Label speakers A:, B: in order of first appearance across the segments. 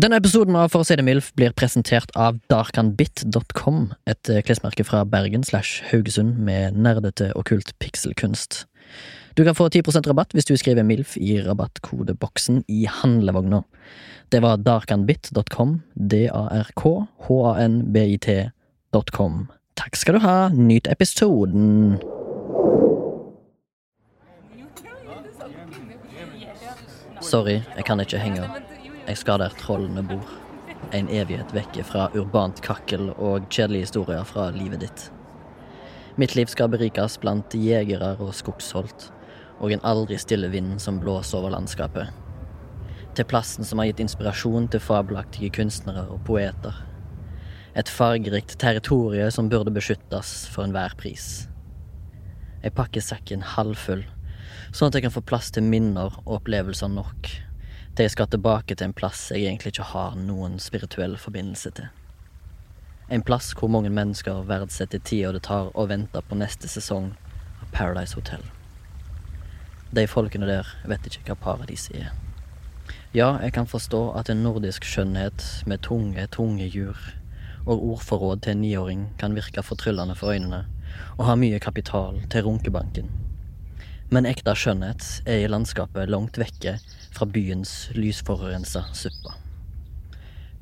A: Denne episoden av For å si det mildt blir presentert av darkanbit.com, et eh, klesmerke fra Bergen slash Haugesund med nerdete okkult pikselkunst. Du kan få 10 rabatt hvis du skriver MILF i rabattkodeboksen i handlevogna. Det var darkanbit.com, d-a-r-k-h-a-n-b-i-t.com. Takk skal du ha, nyt episoden! Sorry, jeg kan ikke henge opp. Jeg skal der trollene bor. En evighet vekke fra urbant kakkel og kjedelige historier fra livet ditt. Mitt liv skal berikes blant jegere og skogsholt, og en aldri stille vind som blåser over landskapet. Til plassen som har gitt inspirasjon til fabelaktige kunstnere og poeter. Et fargerikt territorie som burde beskyttes for enhver pris. Jeg pakker sekken halvfull, sånn at jeg kan få plass til minner og opplevelser nok til jeg skal tilbake til en plass jeg egentlig ikke har noen spirituell forbindelse til. En plass hvor mange mennesker verdsetter tida det tar å vente på neste sesong av Paradise Hotel. De folkene der vet ikke hva paradis er. Ja, jeg kan forstå at en nordisk skjønnhet med tunge, tunge jur og ordforråd til en niåring kan virke fortryllende for øynene og ha mye kapital til runkebanken. Men ekte skjønnhet er i landskapet langt vekke fra byens lysforurensa suppe.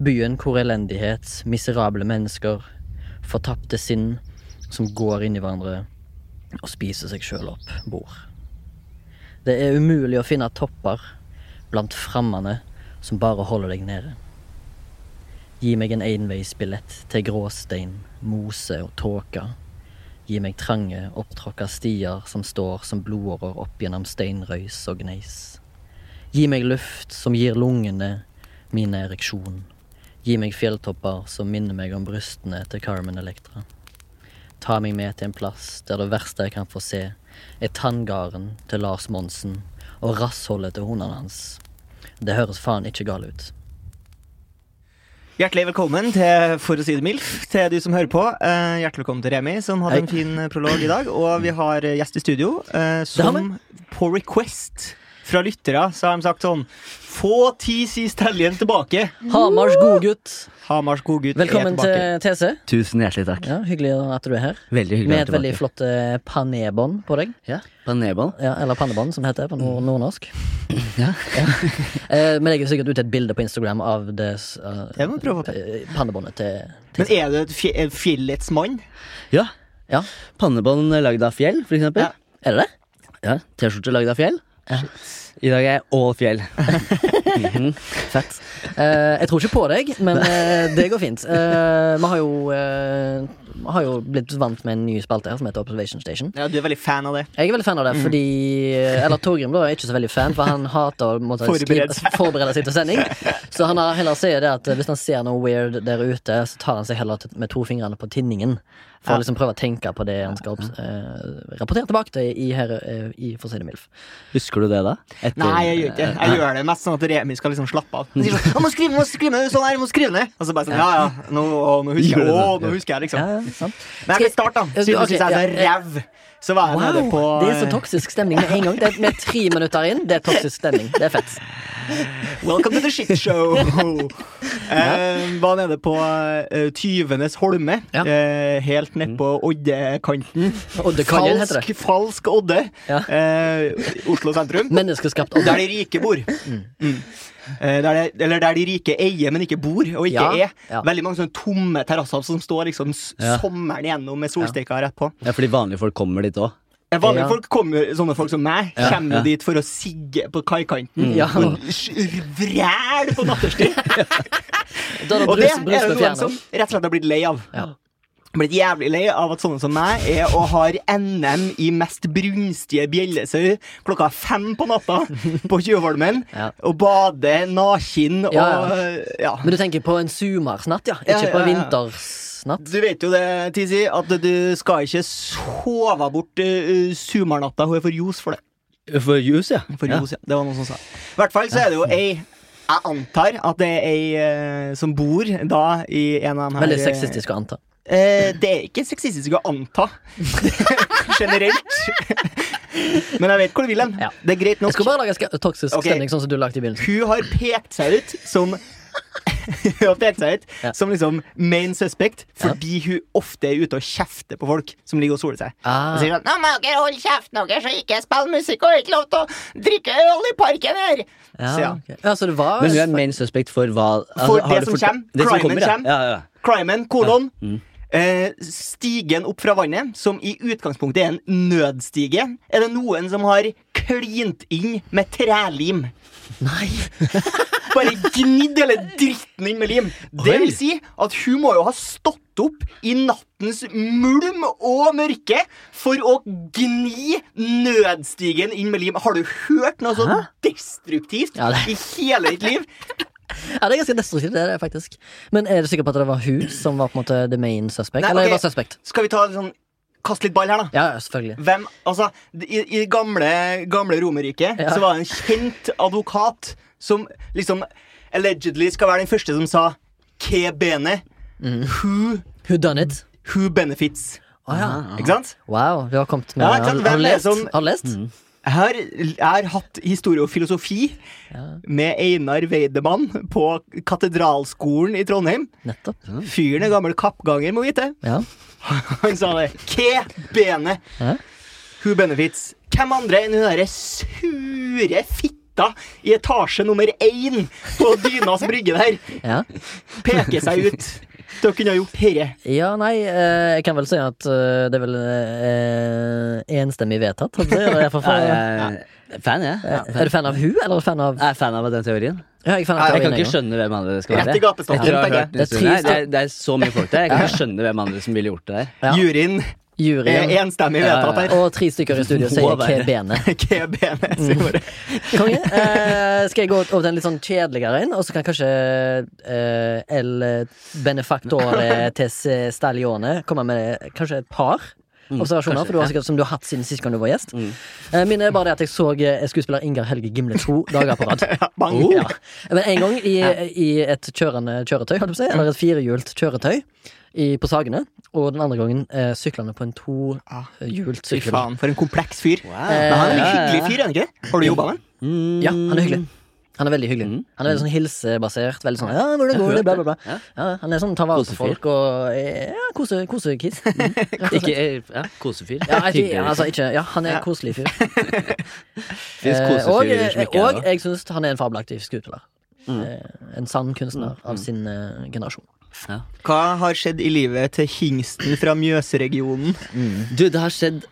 A: Byen hvor elendighet, miserable mennesker, fortapte sinn som går inn i hverandre og spiser seg sjøl opp, bor. Det er umulig å finne topper blant frammene som bare holder deg nede. Gi meg en enveisbillett til gråstein, mose og tåke. Gi meg trange, opptråkka stier som står som blodårer opp gjennom steinrøys og gneis. Gi meg luft som gir lungene mine ereksjon. Gi meg fjelltopper som minner meg om brystene til Carmen Electra. Ta meg med til en plass der det verste jeg kan få se, er tanngarden til Lars Monsen og rassholdet til hundene hans. Det høres faen ikke galt ut.
B: Hjertelig velkommen til For å si det MILF, til du som hører på. Eh, hjertelig velkommen til Remi, som hadde
A: Hei.
B: en fin eh, prolog i dag. Og vi har eh, gjest i studio, eh,
A: har
B: som på request fra lyttere så har de sagt sånn Få TC Stallion tilbake!
A: Hamars godgutt,
B: Hamars godgutt er
A: velkommen
B: tilbake.
A: til TC.
C: Tusen hjertelig takk.
A: Ja, Hyggelig at du er her.
C: Veldig hyggelig å
A: Med
C: være
A: et veldig
C: tilbake.
A: flott eh, panébånd på deg.
C: Ja, på en nedball.
A: Ja, eller pannebånd, som det heter på nord nordnorsk. Eh, Men jeg legger sikkert ut et bilde på Instagram av det eh,
B: Jeg må prøve å ta-
A: eh, pannebåndet til, til
B: Men er du et fje- er fjellets mann?
C: Ja.
A: Ja,
C: Pannebånd lagd av fjell, for eksempel.
B: Ja.
A: er det det?
C: Ja, T-skjorte lagd av fjell. I dag er jeg all fjell. Mhm.
A: Fett. Eh, jeg tror ikke på deg, men eh, det går fint. Eh, vi har jo, eh, vi har jo blitt vant med en ny spalte her som heter Observation Station.
B: Ja, du er veldig fan av det.
A: Jeg er veldig fan av det,
B: Mm.
A: fordi Eller Torgrim da er ikke så veldig fan, for han hater å måtte
B: Forberede
A: skrive, forberede seg til sending. Så han har heller sier det at hvis han ser noe weird der ute, så tar han seg heller til- med to fingrene på tinningen. For å liksom prøve å tenke på det han skal obs- eh, rapportere tilbake til i, her, eh, i For å si det mildt.
C: Husker du det, da? Etter-
B: Nei, jeg gjør ikke det. Jeg gjør det mest sånn at Remi skal liksom slappe av. Han sier sånn, jeg må skrive, jeg må skrive ned, sånn her, jeg må skrive ned. Og så bare sånn, ja, ja, nå, å, nå husker jeg,
C: Gjør det,
B: å,
C: da.
B: nå husker jeg, liksom.
A: Ja, ja, sant.
B: Men jeg vil starte, da. Siden
A: Eh, Ok,
B: du syns jeg er
A: ja,
B: så
A: eh,
B: ræv, så var jeg nede på eh,
A: Wow, det er så toksisk stemning med en gang. Det er, med tre minutter inn, det er toksisk stemning. Det er fett.
B: Welcome to the shit show! Eh, var nede på eh, Tyvenes holme,
A: Ja.
B: eh, helt nedpå Oddekanten.
A: Oddekollen heter det.
B: Falsk, falsk Odde.
A: Ja. Mm.
B: Eh, Oslo sentrum.
A: Menneskeskapt odde.
B: Der de rike bor. Mm. Eh, Der de, eller der de rike eier, men ikke bor, og ikke
A: Ja,
B: er.
A: ja.
B: Veldig mange sånne tomme terrasser som står liksom s-
C: Ja.
B: sommeren igjennom med solsteika rett på.
C: Ja, fordi vanlige folk kommer dit òg.
B: Eh, Vanlige
A: Ja.
B: folk kommer, sånne folk som meg
C: Ja,
B: kommer
C: ja.
B: dit for å sigge på kaikanten.
A: Mm. Ja.
B: Og s- vræl på nattestid!
A: Da er det
B: Og det
A: brus, brus
B: er det
A: med
B: noen
A: fjerner.
B: som rett og slett har blitt lei av.
A: Ja.
B: Blitt jævlig lei av at sånne som meg er og har NM i mest brunstige bjellesau klokka fem på natta på Tjuvholmen
A: Ja.
B: og bader naken og
A: Ja,
B: ja.
A: Men du tenker på en sumarsnatt, ja?
B: Ja,
A: Ikke på
B: ja, ja.
A: vintersnatt?
B: Du vet jo det, Tizi, at du skal ikke sove bort uh, sumarnatta. Hun er for ljos for det.
C: For juice, ja.
B: For ljos, ja. Det var noen som sa. I hvert fall så er det jo ei jeg antar at det er ei eh, som bor da i en av de her
A: Veldig
B: eh,
A: sexistisk å anta.
B: Eh, det er ikke sexistisk å anta. Generelt. Men jeg vet hvor du vil hen.
A: Ja.
B: Det er greit
A: Jeg
B: nok.
A: skulle bare lage ska- toksisk
B: Ok.
A: stemning, sånn som du lagde i begynnelsen.
B: Hun har pekt seg ut som og peke seg ut
A: Ja.
B: som liksom main suspect fordi hun ofte er ute og kjefter på folk som ligger og soler seg. Og
A: Ah,
B: sier sånn, Nå må dere holde kjeften deres og ikke spille musikk og ikke lov til å drikke øl i parken her!
A: ja,
B: Så ja.
A: ok. ja, så det var
C: Men hun er main suspect for hva altså,
B: For
C: har
B: det
C: du
B: som
C: fortalt-
B: kommer.
C: Det som
B: Crimen
C: kommer, ja.
B: kommer.
C: ja, ja.
B: Crimen, kolon.
A: Mm.
B: Eh, stigen opp fra vannet, som i utgangspunktet er en nødstige, er det noen som har klint inn med trelim.
A: Nei!
B: Bare gnidd hele dritten inn med lim. Det
A: Oi.
B: vil si at hun må jo ha stått opp i nattens mulm og mørke for å gni nødstigen inn med lim. Har du hørt noe så destruktivt
A: Ja, det-
B: i hele ditt liv?
A: Ja, det er ganske destruktivt, det er det faktisk. Men er du sikker på at det var hun som var på en måte the main suspect?
B: Nei,
A: Eller
B: ok.
A: var suspect?
B: Skal vi ta litt sånn, kaste litt ball her, da?
A: Ja, ja, selvfølgelig.
B: Hvem, altså, I, i gamle, gamle Romerriket
A: Ja.
B: Så var det en kjent advokat som liksom allegedly skal være den første som sa Ke bene, who,
A: Who done it?
B: who benefits?
A: Å ja.
B: Ikke sant?
A: Wow, du har kommet med
B: Ja, ikke sant?
A: har, har du
B: Hvem er
A: lest?
B: det som-
A: Har du lest?
B: Jeg har, jeg har hatt historie og filosofi med Einar Weidemann på Katedralskolen i Trondheim.
A: Nettopp.
B: Fyren er gammel kappganger, må vite.
A: Ja.
B: Han sa det. Ke bene.
A: Ja.
B: Who benefits? Hvem andre enn hun derre sure fitta i etasje nummer én på Dynas brygge der
A: ja.
B: peker seg ut til å kunne ha gjort herre.
A: Ja, nei, eh, jeg kan vel si at eh, det er vel eh, enstemmig vedtatt. hadde jeg- eller i hvert fall
C: Ja,
A: for-
C: jeg er fan, jeg. Ja.
A: Er du fan av hun, eller er du fan av
C: Jeg er fan av den teorien.
A: Ja, jeg er fan av
C: Jeg
A: teorien,
C: kan ikke
A: jeg også.
C: skjønne hvem andre det skal
B: Rett
C: være.
B: i gapestokken,
C: Jeg tror jeg har
B: tenker jeg.
C: hørt den
A: Det er
C: historien her.
A: trist,
C: det, er, det er så mye folk der. Jeg kan ikke skjønne hvem andre som ville gjort det der.
A: Ja.
B: Juryen er
A: Juryen
B: enstemmig
C: Ja, ja,
B: vedtatt her.
A: Eh, og tre stykker i studio sier
C: Må være.
A: hva benet.
B: Ke bene, sier
C: Mm.
B: bare.
A: Konge. Eh, skal jeg gå over til en litt sånn kjedeligere en, og så kan kanskje eh, El Benefactore Tes Stallione komme med kanskje et par observasjoner,
C: Mm, kanskje,
A: for du har
C: ja. Mm.
A: sikkert som du har hatt siden sist gang du var gjest. Eh, Min er bare det at jeg så eh, skuespiller Ingar Helge Gimle to dager på rad.
B: Ja, bang.
C: Oh.
A: Ja. Men en gang i, i et kjørende kjøretøy, holdt jeg på å si, eller et firehjult kjøretøy i, på Sagene, og den andre gangen eh, syklende på en
C: Ah.
A: tohjult
B: Fy
A: sykkel.
B: faen, for en kompleks fyr.
A: Eh,
B: Men han er en
C: Ja, ja, Mm. ja.
B: hyggelig fyr, er han ikke det? Har du jobba med han?
A: Ja, han er hyggelig. Mm. Han er veldig hyggelig. Han er veldig sånn hilsebasert. Veldig sånn, ja, hvordan går det, bla, bla, bla.
C: Ja.
A: Ja, han er sånn, tar vare på
C: Kosefyr.
A: folk og eh, ja, kose- kosekiss. Mm.
C: Ikke ja, kosefyr.
A: Ja, jeg,
C: Hyggelig.
A: ja, altså, ikke, ja, han er en koselig fyr.
C: Finnes
A: Eh, og,
C: kosefyrer som ikke er
A: og
C: det.
A: jeg syns han er en fabelaktig skuespiller. Eh, En sann kunstner av sin eh, generasjon.
B: Hva har skjedd i livet til hingsten fra Mjøsregionen?
C: Du, det har skjedd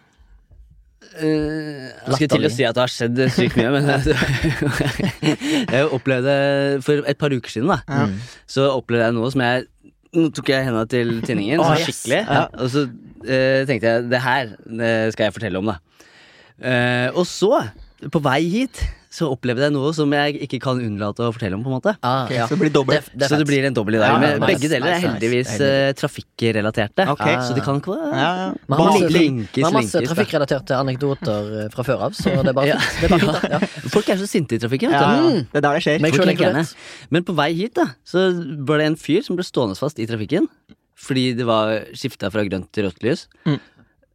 C: eh, Jeg skulle til å
A: Latterlig.
C: si at det har skjedd eh, sykt mye, men eh, Jeg opplevde For et par uker siden, da, Mm. så opplevde jeg noe som jeg Nå tok jeg henda til tinningen,
A: Å,
C: sånn
A: yes.
C: skikkelig. Ja, og så eh, tenkte jeg det her det skal jeg fortelle om, da. Eh, og så, på vei hit, så opplevde jeg noe som jeg ikke kan unnlate å fortelle om, på en måte.
A: Ah, ja.
B: Så det blir dobbelt.
A: Det- det er
C: så det
A: fett.
C: blir en dobbel i dag.
B: Ja,
C: men
A: nice,
C: begge deler er
A: nice, nice.
C: heldigvis
A: Det er
C: eh, trafikkrelaterte. Ah.
B: Ok.
C: Så de kan ikke
B: Ja, ja.
A: Man har
C: Bare
A: masse,
C: linkes,
A: man har masse
C: linkes, da.
A: trafikkrelaterte anekdoter eh, fra før av, så det er bare
C: Ja.
A: fint. Det er bare fint da. Ja.
C: Folk er så sinte i trafikken. Vet
B: Ja, Mm. ja.
C: du.
B: Det er der det skjer.
A: Men-
C: Folk
A: sure
C: er gærne.
A: inkludert.
C: Men på vei hit da Så var det en fyr som ble stående fast i trafikken fordi det var skifta fra grønt til rødt lys.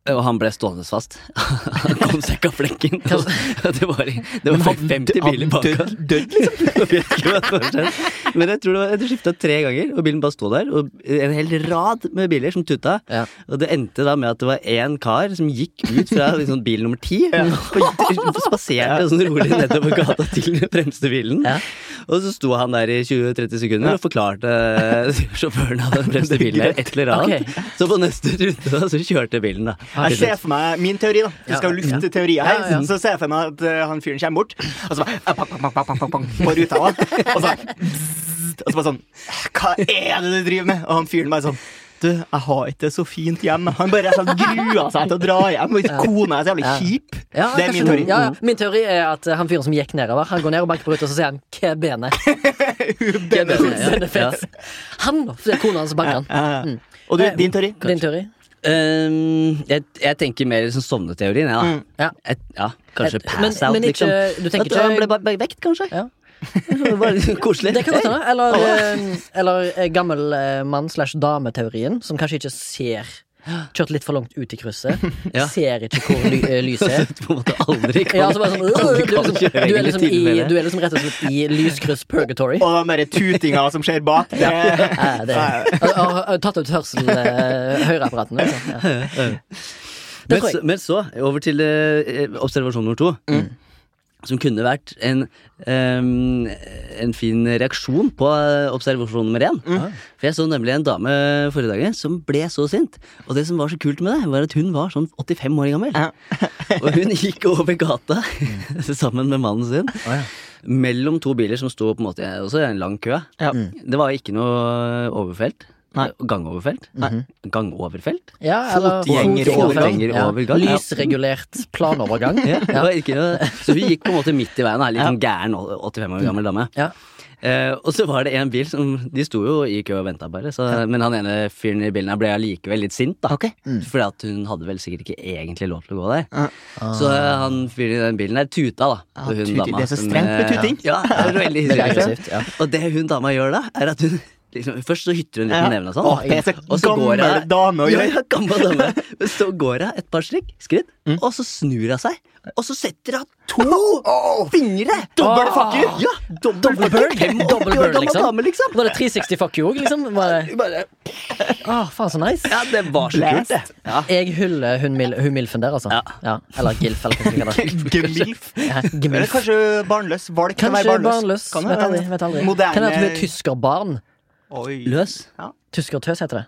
C: Og han ble stående fast. Han kom seg ikke av flekken. Og Det var, det var 50 biler bak
B: Død-
C: han.
B: Død, liksom.
C: Jeg vet ikke hva som har skjedd. Men jeg tror det var, det skifta tre ganger, og bilen bare sto der. Og en hel rad med biler som tuta.
A: Ja.
C: Og det endte da med at det var én kar som gikk ut fra liksom, bil nummer ti og spaserte sånn rolig nedover gata til den fremste bilen.
A: Ja.
C: Og så sto han der i 20-30 sekunder og forklarte sjåføren av den fremste bilen der et eller annet. Så på neste runde da, så kjørte bilen, da.
B: Jeg ser for meg min teori, da. Vi skal jo lufte teorier
A: Ja,
B: her.
A: ja, ja.
B: Så ser jeg for meg at eh, han fyren kommer bort, og så bare eh, pang, pang, pang, pang, pang, pang, pang, På ruta, da. Og så, og så bare sånn Hva er det du driver med? Og han fyren bare sånn du, jeg har ikke det så fint hjemme. Han bare sånn, grua seg til å dra hjem. Og kona er så jævlig
A: Ja.
B: kjip.
A: Ja,
B: det er
A: kanskje
B: min teori. Mm.
A: Ja, ja. Min teori er at eh, han fyren som gikk nedover, Han går ned og banker på ruta, og så sier han 'ke benet'.
C: Ja, det er det, ja. Ja.
A: Benefits. Han, da. for Det er kona hans som banker han.
B: Ja, ja. Og du, din teori?
A: Din teori?
C: Ehm, jeg, jeg tenker mer sånn sovneteorien, jeg, da.
A: Ja.
C: Et, ja, kanskje
A: Et-
C: pass
A: men-
C: out,
A: men ikke-
C: liksom.
A: du tenker
C: At Han
A: ikke-
C: ble bare- bare vekt, kanskje.
A: Ja.
C: Det var litt koselig.
A: Det kan godt hende. Eller, eh, eller eh, gammel eh, mann slash dameteorien, som kanskje ikke ser Kjørt litt for langt ut i krysset.
C: Ja.
A: Ser ikke hvor ly eh, lyset er.
C: Så du på en måte aldri kan,
A: Ja, så bare sånn,
C: aldri
A: øh, du, er
C: kan
A: liksom,
C: kjøre
A: du, er
C: egentlig
A: liksom i,
C: til med
A: du
C: det.
A: er liksom rett og slett i lyskryss purgatory.
B: Og den derre tutinga som skjer bak. Det,
A: Eh, det, og, og, og tatt ut hørsel eh, høreapparatene. Liksom. Ja. Det
C: Men,
A: tror jeg. Mm.
C: så- men så, over til eh, observasjon nummer to. Som kunne vært en, em, en fin reaksjon på eh, observasjon nummer én.
A: Mm.
C: For jeg så nemlig en dame forrige dag som ble så sint. Og det som var så kult med det, var at hun var sånn 85 år gammel.
B: Ja.
C: og hun gikk over gata sammen med mannen sin. Mellom to biler som sto på en måte også i en lang kø.
B: Ja.
C: Det var ikke noe overfelt. Gangoverfelt. Gangoverfelt?
A: Ja, eller
B: Fotgjenger-
A: fotgjengerovergang.
C: fotgjenger- overgang, ja.
A: Lysregulert planovergang.
C: Ja, det var ikke noe. Så vi gikk på en måte midt i veien, her, litt sånn gæren 85 år gammel dame.
A: Ja.
C: Eh, og så var det en bil som De sto jo i kø og venta, bare. Så, Men han ene fyren i bilen her ble allikevel litt sint, da.
B: Mm.
C: Fordi at hun hadde vel sikkert ikke egentlig lov til å gå der. Så eh, han fyren i den bilen der tuta, da.
B: Ja,
C: og hun
B: tuting.
C: dama
B: Det er så
C: som,
B: strengt med
C: eh,
B: tuting.
C: Ja, det var veldig
A: Veldig
C: hyggelig.
A: aggressivt, ja.
C: Og det hun dama gjør da, er at hun liksom, Først så hytter hun litt
B: Ja.
C: med nevene og sånn.
B: Å, det er så
C: og så går
B: gammel
C: hun-
B: dame å
C: Ja,
B: gjøre.
C: ja, gammel dame. Men så går hun et par strikk, skritt,
B: Mm.
C: og så snur hun seg. Og så setter hun to fingre!
B: Dobbel fucker!
C: Ja, dobbel
A: burn.
C: fucker. 85 år
A: Double burn,
C: gammel
A: liksom.
C: dame, liksom.
A: Var det 360 fuck you òg, liksom? Var det,
C: Bare,
A: ah, faen, så nice.
C: ja, det var så
B: Blast.
C: kult, det. Ja.
A: Jeg hyller hun, mil, hun milfen der, altså.
C: Ja.
A: Eller gilf, eller hva man skal kalle det.
B: Gemilf.
A: Ja,
B: Eller
A: Gemilf.
B: kanskje barnløs. Valgt til å
A: Kanskje
B: være
A: barnløs.
B: barnløs. Kan det
A: vet aldri.
B: være.
A: Vet aldri.
B: Moderne-
A: Kan det være at hun er tyskerbarn?
B: Oi.
C: Løs.
A: Tyskertøs heter det.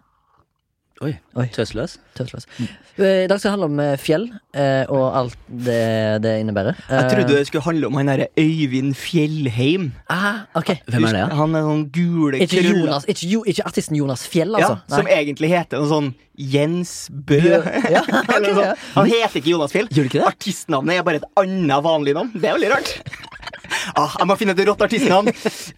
C: Oi.
A: Oi.
C: Tøsløs.
A: Tøsløs.
B: Mm.
A: I dag skal det handle om eh, fjell eh, og alt det det innebærer.
B: Jeg
A: Eh.
B: trodde det skulle handle om han derre Øyvind Fjellheim.
A: ah, ok.
C: Hvem er det, ja?
B: Han er sånn gule
A: Ikke,
B: krøller.
A: Jonas, ikke, Jo- ikke artisten Jonas Fjell, altså.
B: Ja, som
A: Nei.
B: egentlig heter noe sånn Jens Bø.
A: Ja,
B: Eller noe sånt. Han heter ikke Jonas Fjell.
C: Gjør du ikke det?
B: Artistnavnet er bare et annet vanlig navn. Det er veldig rart. Ah, jeg må finne et rått artistnavn.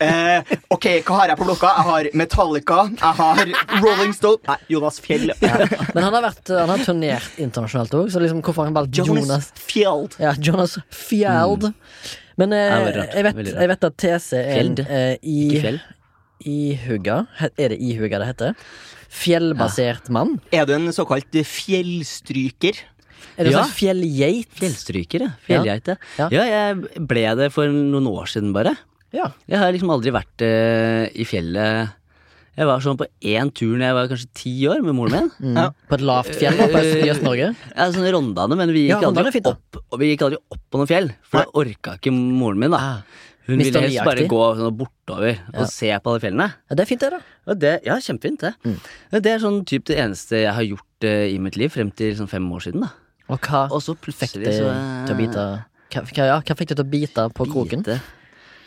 B: Eh, ok, Hva har jeg på blokka? Jeg har Metallica. Jeg har Rolling Stone. Nei, Jonas Fjell.
A: Men han har, vært, eh, han har turnert internasjonalt òg, så liksom, hvorfor har han valgt
B: Jonas,
A: Jonas
B: Fjeld.
A: Ja, Jonas Fjeld. Men eh,
C: Mm. Ja, det var rart.
A: jeg, vet,
C: Veldig rart.
A: jeg vet at TC er en
C: Fjeld.
A: eh,
C: Ikke
A: i,
C: fjell.
A: ihuga He- Er det ihuga det heter? Fjellbasert mann?
B: Er du en såkalt fjellstryker?
A: Er det
C: Ja.
A: sånn fjellgeit?
C: Fjellstryker, ja. Fjellgeite.
A: Ja.
C: Ja. jeg ble det for noen år siden, bare.
A: Ja.
C: Jeg har liksom aldri vært eh, i fjellet. Jeg var sånn på én tur da jeg var kanskje ti år med moren min.
A: Mm. På et lavt fjell da, på Øst- i Øst-Norge?
C: Ja, sånn Rondane, men vi
A: Ja,
C: gikk,
A: Rondane er
C: aldri,
A: fint, da.
C: opp, og vi gikk aldri opp på noen fjell. For det orka ikke moren min,
A: Ah.
C: da. Hun
A: Mr.
C: ville helst bare
A: Lee-aktig.
C: gå sånn bortover og se på alle fjellene.
A: Ja, det er fint, det, da.
C: Og det, ja, kjempefint, det. Det er sånn typ det eneste jeg har gjort eh, i mitt liv frem til sånn fem år siden, da.
A: Og hva
C: Og så
A: fikk
C: plutselig
A: deg
C: så eh,
A: til å bite hva, hva, ja, hva fikk deg til å bite på kroken?
C: Bite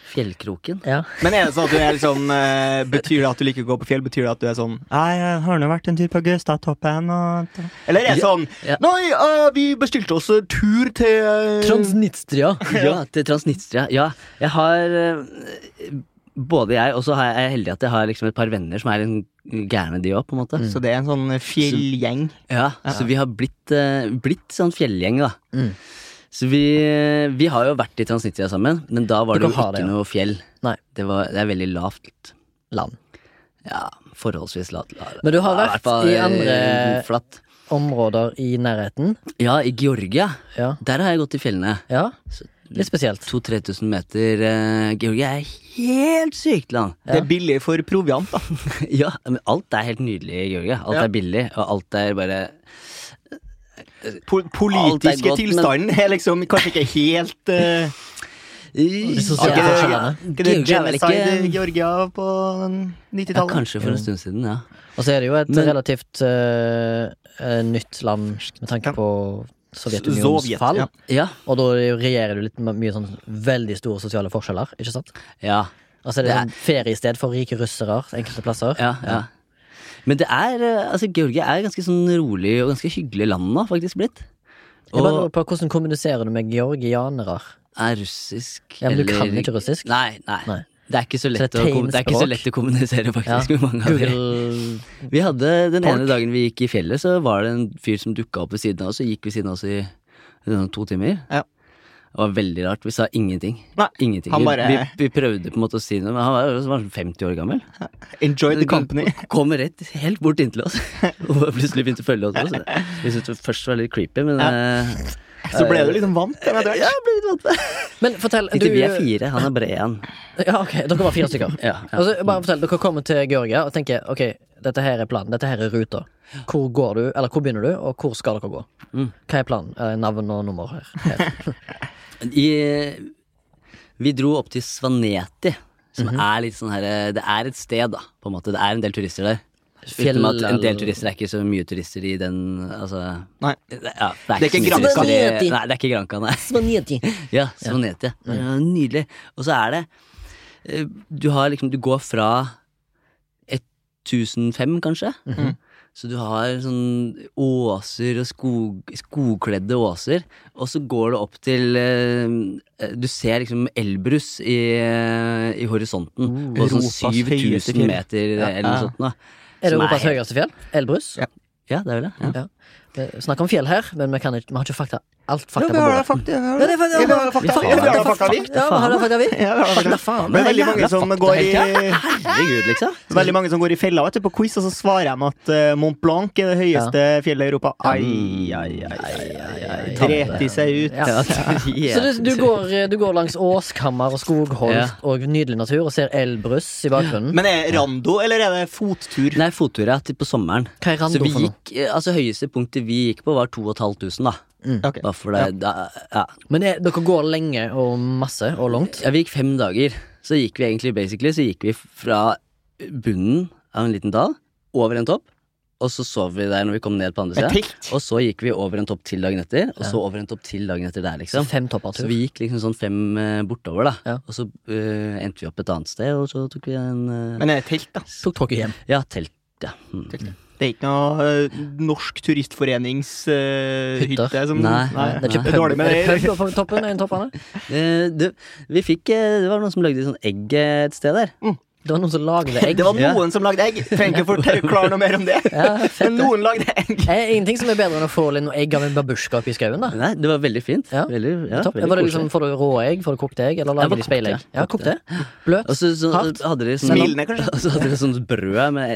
C: Fjellkroken.
A: Ja.
B: Men er det sånn at du er liksom eh, Betyr det at du liker å gå på fjell? Betyr det at du er sånn Nei, jeg har nå vært en tur på Gaustatoppen og Eller er det sånn
C: Ja.
B: Nei, eh, vi bestilte oss eh, tur til eh,
A: Transnistria.
C: Ja, til Transnistria. Ja, jeg har eh, Både jeg, og så har jeg- jeg er heldig at jeg har liksom et par venner som er en gærne, de òg, på en måte.
B: Så det er en sånn fjellgjeng.
C: Mm. Ja, så vi har blitt, eh, blitt sånn fjellgjeng, da.
A: Mm.
C: Så vi, vi har jo vært i Transnistria sammen, men da var det
A: Dere
C: jo
A: har
C: ikke
A: det, ja.
C: noe fjell.
A: Nei.
C: Det, var, det er veldig lavt.
A: Land.
C: Ja, forholdsvis lavt. La-
A: Men du har
C: ja,
A: vært
C: hvert fall,
A: i andre-
C: eh, Flatt.
A: Områder i nærheten.
C: Ja, i Georgia.
A: Ja.
C: Der har jeg gått i fjellene.
A: ja. Litt spesielt.
C: 2000-3000 meter. eh, Georgia er helt sykt land.
B: Det er billig for proviant, da.
C: Ja, men alt er helt nydelig i Georgia. Alt
B: Ja.
C: er billig, og alt er bare
B: Po politiske
C: godt, men-
B: tilstanden er liksom kanskje ikke helt eh,
A: de sosiale
B: ikke det-
A: forskjellene.
B: Ikke det
C: Georgia er vel
B: genocide i
C: ikke
B: Georgia på
C: ja,
B: 90-tallet?
C: Kanskje for en stund siden, ja.
A: Og så er det jo et
C: Men-
A: relativt eh, eh, nytt land med tanke
B: Ja.
A: på Sovjetunionens
B: Sovjet,
A: fall.
B: ja.
C: Ja,
A: Og da regjerer du litt med mye sånn veldig store sosiale forskjeller, ikke sant?
C: ja,
A: Altså det er
C: Det
A: sånn feriested for rike russere enkelte plasser.
C: ja, ja. Men det er eh, Altså, Georgia er ganske sånn rolig og ganske hyggelig land nå, faktisk blitt.
A: Jeg bare lurer
C: Og
A: på Hvordan kommuniserer du med georgianere?
C: er russisk
A: Ja, men du kan ikke russisk?
C: Nei, nei.
A: Nei.
C: Det er ikke så lett,
A: det er
C: å, kom- det er ikke
A: tegnspråk?
C: så lett å kommunisere
A: Ja.
C: faktisk med mange av dem.
A: Google
C: Vi hadde Den
A: Folk.
C: ene dagen vi gikk i fjellet, så var det en fyr som dukka opp ved siden av oss, og gikk ved siden av oss i sånn to timer.
B: Ja.
C: Det var veldig rart. Vi sa ingenting.
B: Nei,
C: ingenting.
B: han
C: Vi-
B: bare-
C: vi, vi prøvde på en måte å si noe, men han var jo var sånn 50 år gammel.
B: Enjoy the company.
C: Kom rett helt bort inntil oss, og bare plutselig begynte å følge oss. Også. Vi syntes det først var litt creepy, men eh,
B: Så ble du liksom vant til det.
C: Ja, ble litt vant til det.
A: Men fortell
C: Tenkte
A: du-
C: vi er fire, han er bred igjen.
A: Ja, ok, Dere var fire stykker.
C: Ja, ja.
A: Altså, bare fortell, Dere kommer til Georgia og tenker ok, dette her er planen. Dette her er ruta. Hvor går du, eller hvor begynner du, og hvor skal dere gå? Hva er planen? Eh, Navn og nummer her. her.
C: I, vi dro opp til Svaneti, som
B: Mhm.
C: er litt sånn her eh, Det er et sted, da, på en måte. Det er en del turister der. Utenom at en del turister er ikke så mye turister i den altså,
B: Nei.
C: ja,
B: Det er ikke
C: så mye
B: Granca.
C: turister i- Nei, det er ikke Granca, nei.
A: Svaneti.
C: Ja, Svaneti.
A: Mm.
C: Det er Nydelig. Og så er det eh, Du har liksom Du går fra 1005, kanskje?
A: Mhm.
C: Så du har sånn åser og skog, skogkledde åser, og så går det opp til eh, Du ser liksom Elbrus i, eh, i
A: Uh,
C: horisonten, på sånn
B: Europas høyeste
C: 7000
B: fjell.
C: meter
B: Ja,
C: eller noe
B: ja.
C: sånt. Da,
A: Er det
C: Som
A: Europas
C: er-
A: høyeste fjell? Elbrus?
B: Ja.
C: Ja, det er vel det. Ja.
A: Ja. Vi snakker om fjell her, men vi, kan ikke, vi har ikke fakta. Alt fakta
B: Ja,
A: på
B: vi har da
A: bordet.
B: fakta. Ja,
A: Ja, det er fakta.
B: vi har da fakta.
A: Fakta.
B: Ja, vi har da fakta, vi.
A: Ja, vi har da fakta, vi.
B: Ja, vi har da fakta.
A: Fakta, faen.
B: Men veldig mange
C: jævla
B: som
C: fakta
B: går
C: hele
B: i
C: tida. Herregud, liksom.
B: Veldig mange som går i fella vet du, på quiz, og så svarer de at eh, Mont Blanc er det høyeste fjellet i Europa. Ai, ai, ai. ai. Dret de seg ut.
A: Ja. Så du, du, går, du går langs Åskammer og Skogholt
C: Ja.
A: og nydelig natur og ser Elbrus i bakgrunnen.
B: Men er det rando, eller er det fottur?
C: Nei, fottur, ja. Til på sommeren.
A: Hva er
C: Så
A: rando
C: vi
A: for noe?
C: gikk, eh, altså høyeste punktet vi gikk på, var 2500, da.
B: Ok.
C: Bare for det, da ja.
A: Men er, dere går lenge og masse og langt?
C: ja, vi gikk fem dager. Så gikk vi egentlig basically Så gikk vi fra bunnen av en liten dal, over en topp, og så sov vi der når vi kom ned på andre
B: Det er
C: sida.
B: pikt.
C: Og så gikk vi over en topp til dagen etter, og så over en topp til dagen etter der, liksom.
A: Fem topper
C: Så
A: tur.
C: vi gikk liksom sånn fem eh, bortover, da.
A: Ja.
C: Og så eh, endte vi opp et annet sted, og så tok vi en eh,
B: Men er det telt, da?
A: Tok dere hjem.
C: Ja, telt. Ja. Mm.
B: Det er ikke noe eh, norsk turistforenings eh,
A: Hytter.
B: hytte som
C: Nei,
A: Det er ikke
B: det er
A: pub,
B: dårlig med
A: er det
B: det.
A: pub på toppen? En toppene?
C: Eh, du, vi fikk eh, Det var noen som lagde sånn egg eh, et sted der.
A: Det var noen som lagde egg.
B: Det var
C: Ja.
B: noen som lagde egg. Trenger ikke forklare noe mer om det. Men noen lagde egg.
A: Eh, ingenting som er bedre enn å få litt noe egg av en babusjka oppi skauen, da.
C: Nei, det var veldig fint.
A: Ja.
C: Veldig, ja,
A: Topp.
C: veldig
A: Var det
C: koselig.
A: liksom, får du rå egg? Får du kokte egg? Eller
C: Ja,
A: lager
C: bare
A: de speilegg?
C: kokte, ja.
A: Ja,
C: Altså-
A: kokte. Bløt.
C: Og så, så
A: liksom Hardt.
C: hadde de sånn
B: Smilende, kanskje?
C: Og så hadde de sånt brød med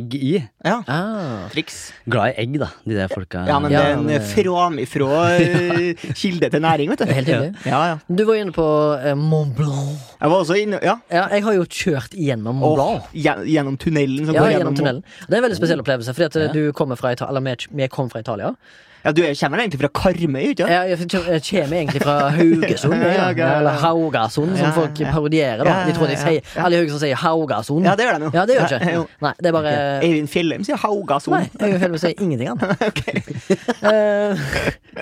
C: egg i.
B: Ja,
A: Ah.
B: triks.
C: Glad i egg, da, de der folka.
B: Ja, men
A: Ja,
B: det er en
A: men-
B: eh, framifrå eh, kilde til næring, vet du.
A: Helt hyggelig.
B: Ja, ja.
A: Du var inne på eh, Mont Blanc.
B: Jeg var også inne Ja.
A: Ja, jeg har jo kjørt gjennom Mont
B: Og
A: Blanc.
B: gjen- gjennom tunnelen som
A: Ja,
B: går
A: gjennom
B: gjennom,
A: tunnelen. Det er en veldig spesiell
C: Mm.
A: opplevelse, fordi at eh, du kommer fra Italia, eller vi- vi kom fra Italia.
B: Ja, Du er- kommer egentlig fra Karmøy, ikke
A: Jeg,
B: sant?
A: jeg, jeg kommer egentlig fra Haugesund, jeg,
B: Ja, ja, ja,
A: da.
B: ja.
A: eller Haugasund,
B: Ja,
A: som
B: ja,
A: folk
B: ja.
A: parodierer. da
B: Ja, ja,
A: De tror de
B: ja,
A: sier, Alle i Haugesund sier Haugasund.
B: Ja, det gjør de jo.
A: Ja, det gjør
B: Ja,
A: ikke.
B: jo.
A: Nei, det er bare
B: Eivind Fjellheim sier Haugasund.
A: Nei, jeg føler meg sier ingenting annet.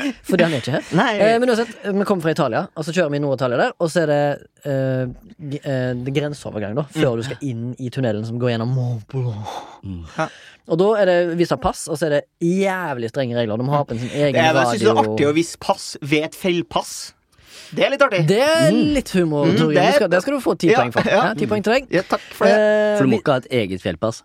A: Eh, fordi han er ikke her.
B: Nei.
A: Eh, men uansett, vi kommer fra Italia, og så kjører vi i Nord-Italia der. Og så er det eh, g- eh, det grenseovergang, da,
B: Mm.
A: før du skal inn i tunnelen som går gjennom Mont Blanc.
B: Ja.
A: Og da er det visa pass, og så er det jævlig strenge regler. De må ha på en sin egen
B: Jeg
A: radio.
B: synes det er artig å vise pass ved et feilpass. Det er litt artig.
A: Det er litt humor,
B: Mm,
A: Torgrim.
B: det
A: Det,
B: er-
A: skal- det skal du få ti
B: Ja,
A: poeng for.
B: ja.
A: Ja, ti poeng til deg.
B: Ja, takk for det.
A: Eh,
C: For du
A: vi-
C: må ikke ha et eget fjellpass.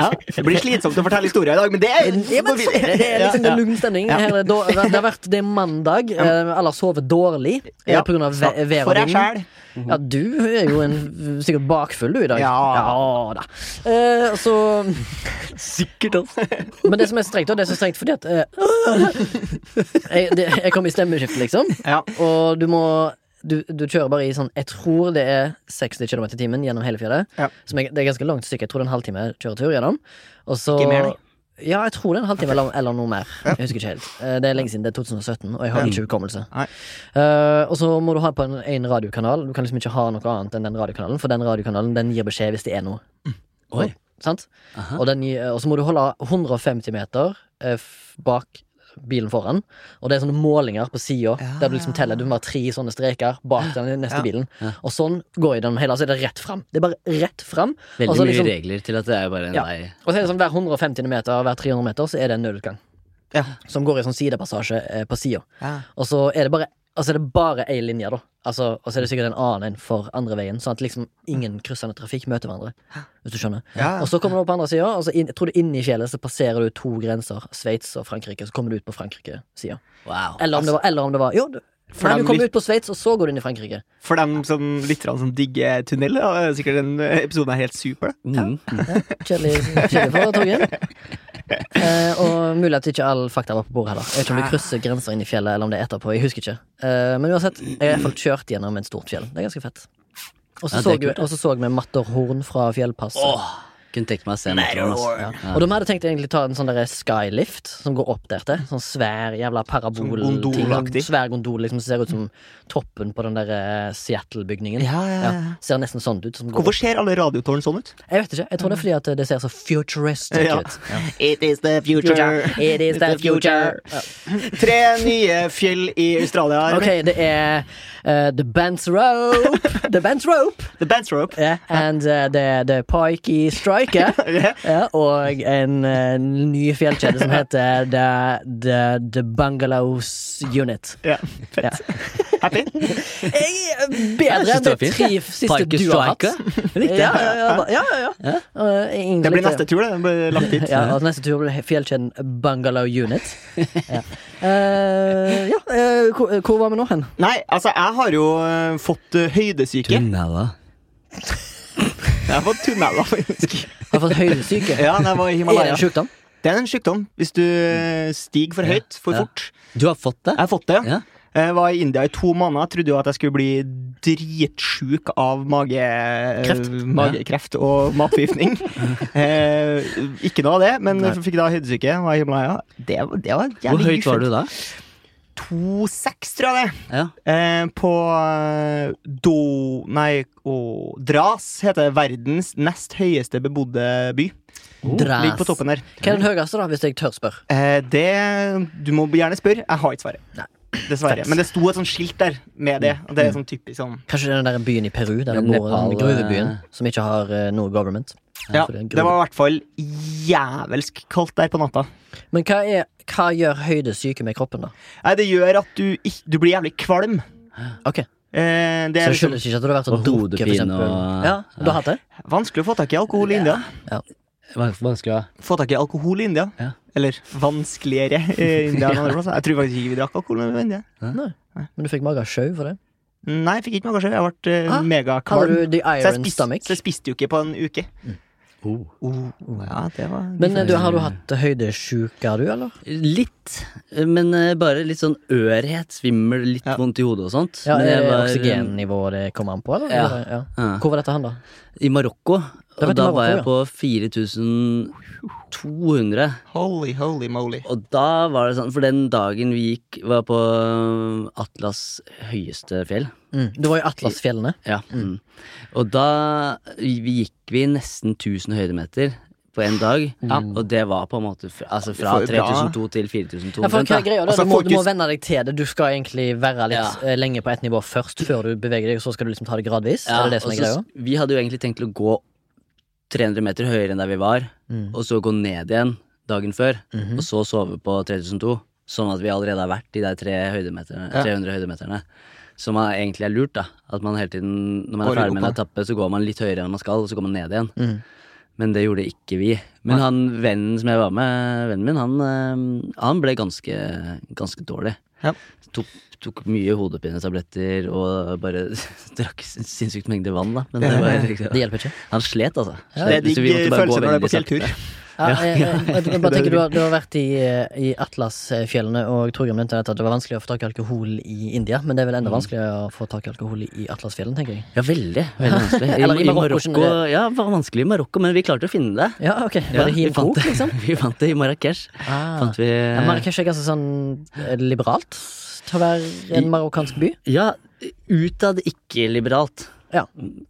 B: ja. Det blir slitsomt å fortelle historier i dag, men det er
A: ja, men sånn er det. Det er liksom det er lugn stemning. Her er da- det har vært det er mandag. eh, Alle har sovet dårlig eh,
B: Ja.
A: på grunn av ve- vær
B: For
A: og
B: deg
A: vind.
B: sjæl.
A: Ja, du er jo en, sikkert bakfull du i dag.
B: Ja.
A: da. Eh, så,
B: Sikkert, altså.
A: men det som er strengt, da, det er så strengt fordi at eh, jeg, det, jeg kom i stemmeskifte, liksom.
B: Ja.
A: Og du må du, du kjører bare i sånn Jeg tror det er 60 km i timen gjennom hele fjellet.
B: Ja.
A: Som er, det er ganske langt stykke. Jeg tror det er en halvtime kjøretur gjennom. Og så
B: Ikke mer, nei.
A: Ja, jeg tror det er en halvtime eller, eller noe mer. Jeg husker ikke helt. Eh, Det er lenge siden. Det er 2017, og jeg har ikke hukommelse.
B: Nei.
A: Eh, og så må du ha på en, en radiokanal. Du kan liksom ikke ha noe annet enn den radiokanalen, for den radiokanalen den gir beskjed hvis det er noe.
B: Mm.
C: Oi.
A: Sant?
C: Aha.
A: Og, den, gir- og så må du holde 150 meter eh, f- bak bilen foran. Og det er sånne målinger på sida der du liksom teller. Du må ha tre sånne streker bak den neste bilen. Og sånn går jeg gjennom hele. Så er det rett fram. Det er bare rett fram.
C: Veldig
A: Og så
C: mye
A: liksom-
C: regler til at det er bare en
A: Ja.
C: vei.
A: Og så er det sånn hver 150 meter, hver 300 meter, så er det en nødutgang.
B: Ja.
A: Som går i sånn sidepassasje eh, på sida.
B: Ja.
A: Og så er det bare Og så er det bare ei linje, da. Altså, og så er det sikkert en annen en for andre veien. Sånn at liksom ingen kryssende trafikk møter hverandre. Hvis du skjønner.
B: Ja.
A: Og så kommer du opp på andre sida, og så inn, jeg tror du inni fjellet så passerer du to grenser. Sveits og Frankrike. Så kommer du ut på Frankrike-sida.
C: Wow.
A: Eller, om det var- eller om det var Jo, du,
B: Altså For
A: nei, du
B: dem
A: kommer ut
B: litt-
A: på Sveits, og så går du inn i Frankrike.
B: For dem som lytter som digger tunnel, er sikkert den episoden er helt super.
C: Mm.
A: Kjedelig, kjedelig for Torgeir. Eh, og mulig at ikke all fakta var på bordet heller. Jeg vet ikke om du krysser grenser inn i fjellet, eller om det er etterpå. Jeg husker ikke. Eh, men uansett, jeg har i hvert fall kjørt gjennom et stort fjell. Det er ganske fett. Og så
C: Ja, det er
A: så, vi-
C: kult, ja.
A: og så så vi Matterhorn fra fjellpasset.
C: Åh, kunne tenkt meg å se motoren. ass.
A: Ja. Og de hadde tenkt egentlig ta en sånn derre skylift som går opp der til. Sånn svær jævla parabol.
B: Sånn gondolaktig.
A: Svær gondol liksom, som ser ut som toppen på den der eh, Seattle-bygningen.
B: Ja, ja, ja.
A: Ser nesten sånn ut. Som går
B: Hvorfor ser alle radiotårn sånn ut?
A: opp. Jeg vet ikke. Jeg tror det er fordi at det ser så futuristic
B: Ja.
A: ut.
B: It is the future.
A: It is the future. Ja.
B: Tre nye fjell i Australia.
A: Ok, det er eh, The Bant's Rope. The Bant's Rope.
B: The band's rope.
A: Yeah. And eh, det er The Pikey Striker.
B: Yeah.
A: Ja, og en eh, ny fjellkjede som heter eh, The, the, the Bungalows Unit.
B: Ja, fett.
A: Ja.
B: Happy?
A: Jeg er bedre enn
C: det
A: de
C: var fint,
A: tre
C: jeg.
A: siste
C: Parker
A: du har hatt.
C: Striker.
A: Riktig. Ja, ja, ja. ja, ja, ja. Eh, egentlig
B: Det blir
A: ikke-
B: neste tur, det. Den blir lagt hit.
A: Ja, og neste tur blir fjellkjeden Bungalow Unit. Ja, Eh, ja eh, hvor, hvor var vi nå hen?
B: Nei, altså, jeg har jo eh, fått eh, høydesyke.
C: Tunnela.
B: Jeg har fått tunneler, faktisk.
A: Har fått høydesyke?
B: Ja, det var
A: Er
B: i
A: det
B: Himalaya.
A: en sjukdom?
B: Det er en sykdom hvis du eh, stiger for høyt for
C: Ja.
B: fort.
C: Du har fått det?
B: Jeg har fått det, ja.
C: Ja.
B: Jeg var i India i to måneder. Jeg trodde jo at jeg skulle bli dritsjuk av mage...
A: Kreft.
B: magekreft og matforgiftning. eh, ikke noe av det, men jeg fikk da høydesyke. Var i Himalaya. Det, det var jævlig
C: Hvor høyt var du da?
B: 2,6, tror jeg det.
C: Ja.
B: Eh, på eh, Do... Nei, å, Dras heter det. Verdens nest høyeste bebodde by.
A: Dras.
B: Ligger på toppen der.
A: Hva er den høyeste, da, hvis jeg tør spørre?
B: Eh, det Du må gjerne spørre. Jeg har ikke svaret.
A: Nei.
B: Dessverre.
A: Thanks. Mm.
B: Men det sto et sånt skilt der med det. Og det er sånn typisk sånn
A: Kanskje den der byen i Peru, der
C: Ja,
A: det bor
C: Nepal,
A: den gruvebyen
C: eh,
A: som ikke har eh, noe government?
B: Ja,
A: for det er en
B: det var i hvert fall jævelsk kaldt der på natta.
A: gruve. Men hva, er, hva gjør høydesyke med kroppen, da?
B: Nei, det gjør at du, ikk- du blir jævlig kvalm.
A: Ok,
B: Eh, det
A: Så det
B: er liksom
A: skyldes ikke at du har vært og
C: Og
A: drukket, for
C: hodepine
A: eksempel?
C: og-
A: Ja, du har hatt det?
B: vanskelig å få tak i alkohol i India.
C: Vanskelig å
B: Få tak i alkohol i India.
C: Ja.
B: Eller vanskeligere i India enn andre plasser. Jeg tror faktisk ikke vi drakk alkohol i India.
A: Men du fikk mage av sjau for det?
B: Nei, jeg fikk ikke meg, kanskje. Jeg ble eh,
A: Ah, Hadde
B: megakvalm.
A: du the
B: Så jeg,
A: iron
B: spis,
A: stomach?
B: så jeg spiste jo ikke på en uke.
C: Oh.
B: Oh, ja, det var
A: Men eh, du, har du hatt høydesjuke, du, eller?
C: Litt, men eh, bare litt sånn ørhet, svimmel, litt
B: Ja.
C: vondt i hodet og sånt.
A: Ja, eh,
C: men
A: er
C: jeg
A: det
C: var,
A: oksygennivået det kommer an på, eller?
C: Ja.
A: Eller- ja.
C: Ja.
A: Hvor var dette hen, da?
C: eh, I Marokko,
A: Det var til
C: og da
A: Marokko,
C: var jeg
A: ja.
C: på 4200.
B: Holy, holy moly.
C: Og da var det sånn, for den dagen vi gikk, var på eh, Atlas høyeste fjell.
A: Mm. Du var i Atlasfjellene.
C: Ja. Mm. Og da vi gikk vi nesten 1000 høydemeter på en dag, og det var på en måte fra, altså fra
B: For bra.
C: 3002 til 4200.
A: Ja, for hva er greia da?
B: Altså,
A: du, må, du må
B: fokus-
A: venne deg til det. Du skal egentlig være litt
C: Ja.
A: eh, lenge på ett nivå først, før du beveger deg, og så skal du liksom ta det gradvis.
C: Ja,
A: er det det som
C: og
A: er
C: så
A: greia?
C: s- Vi hadde jo egentlig tenkt å gå 300 meter høyere enn der vi var,
A: Mm,
C: og så gå ned igjen dagen før,
A: mhm.
B: Mm.
C: og så sove på 3002. Sånn at vi allerede har vært i de tre høydemeterne, 300 høydemeterne. Som er, egentlig er lurt, da. At man hele tiden, når man
B: Går
C: er ferdig
B: opp,
C: med en etappe, så går man litt høyere enn man skal, og så går man ned igjen.
A: Mhm.
C: Men det gjorde ikke vi. Men han vennen som jeg var med, vennen min, han, øhm, han ble ganske, ganske dårlig.
B: Ja.
C: Tok, tok mye hodepinetabletter og bare drakk sin- sinnssykt mengde vann, da. Men det
B: Ja,
C: var,
B: ja,
C: liksom-
A: Det hjelper ikke.
C: han slet, altså.
B: Det er
C: Slet,
B: digg
C: så vi måtte bare gå
B: følelse når du er på
C: veldig
B: fjelltur.
A: Ja, eh,
C: Ja.
A: jeg, jeg, jeg, jeg bare tenker du har, du har vært i, eh, i Atlasfjellene, og Torgrim nevnte dette at det var vanskelig å få tak i alkohol i India. Men det er vel
C: Mhm.
A: enda vanskeligere å få tak i alkohol i Atlasfjellene, tenker jeg.
C: Ja, veldig. veldig vanskelig.
A: Eller i Marokko, skjønner
C: Ja, det var vanskelig i Marokko, men vi klarte å finne det.
A: Ja, ok.
C: Ja,
A: Bare hiv
C: vi fant
A: bok,
C: det.
A: liksom.
C: Vi fant det i Marrakech.
A: Ah.
C: Fant vi
A: Ja, Marrakech er ganske sånn eh, liberalt til å være en marokkansk by.
C: Ja, utad ikke liberalt.
A: Ja.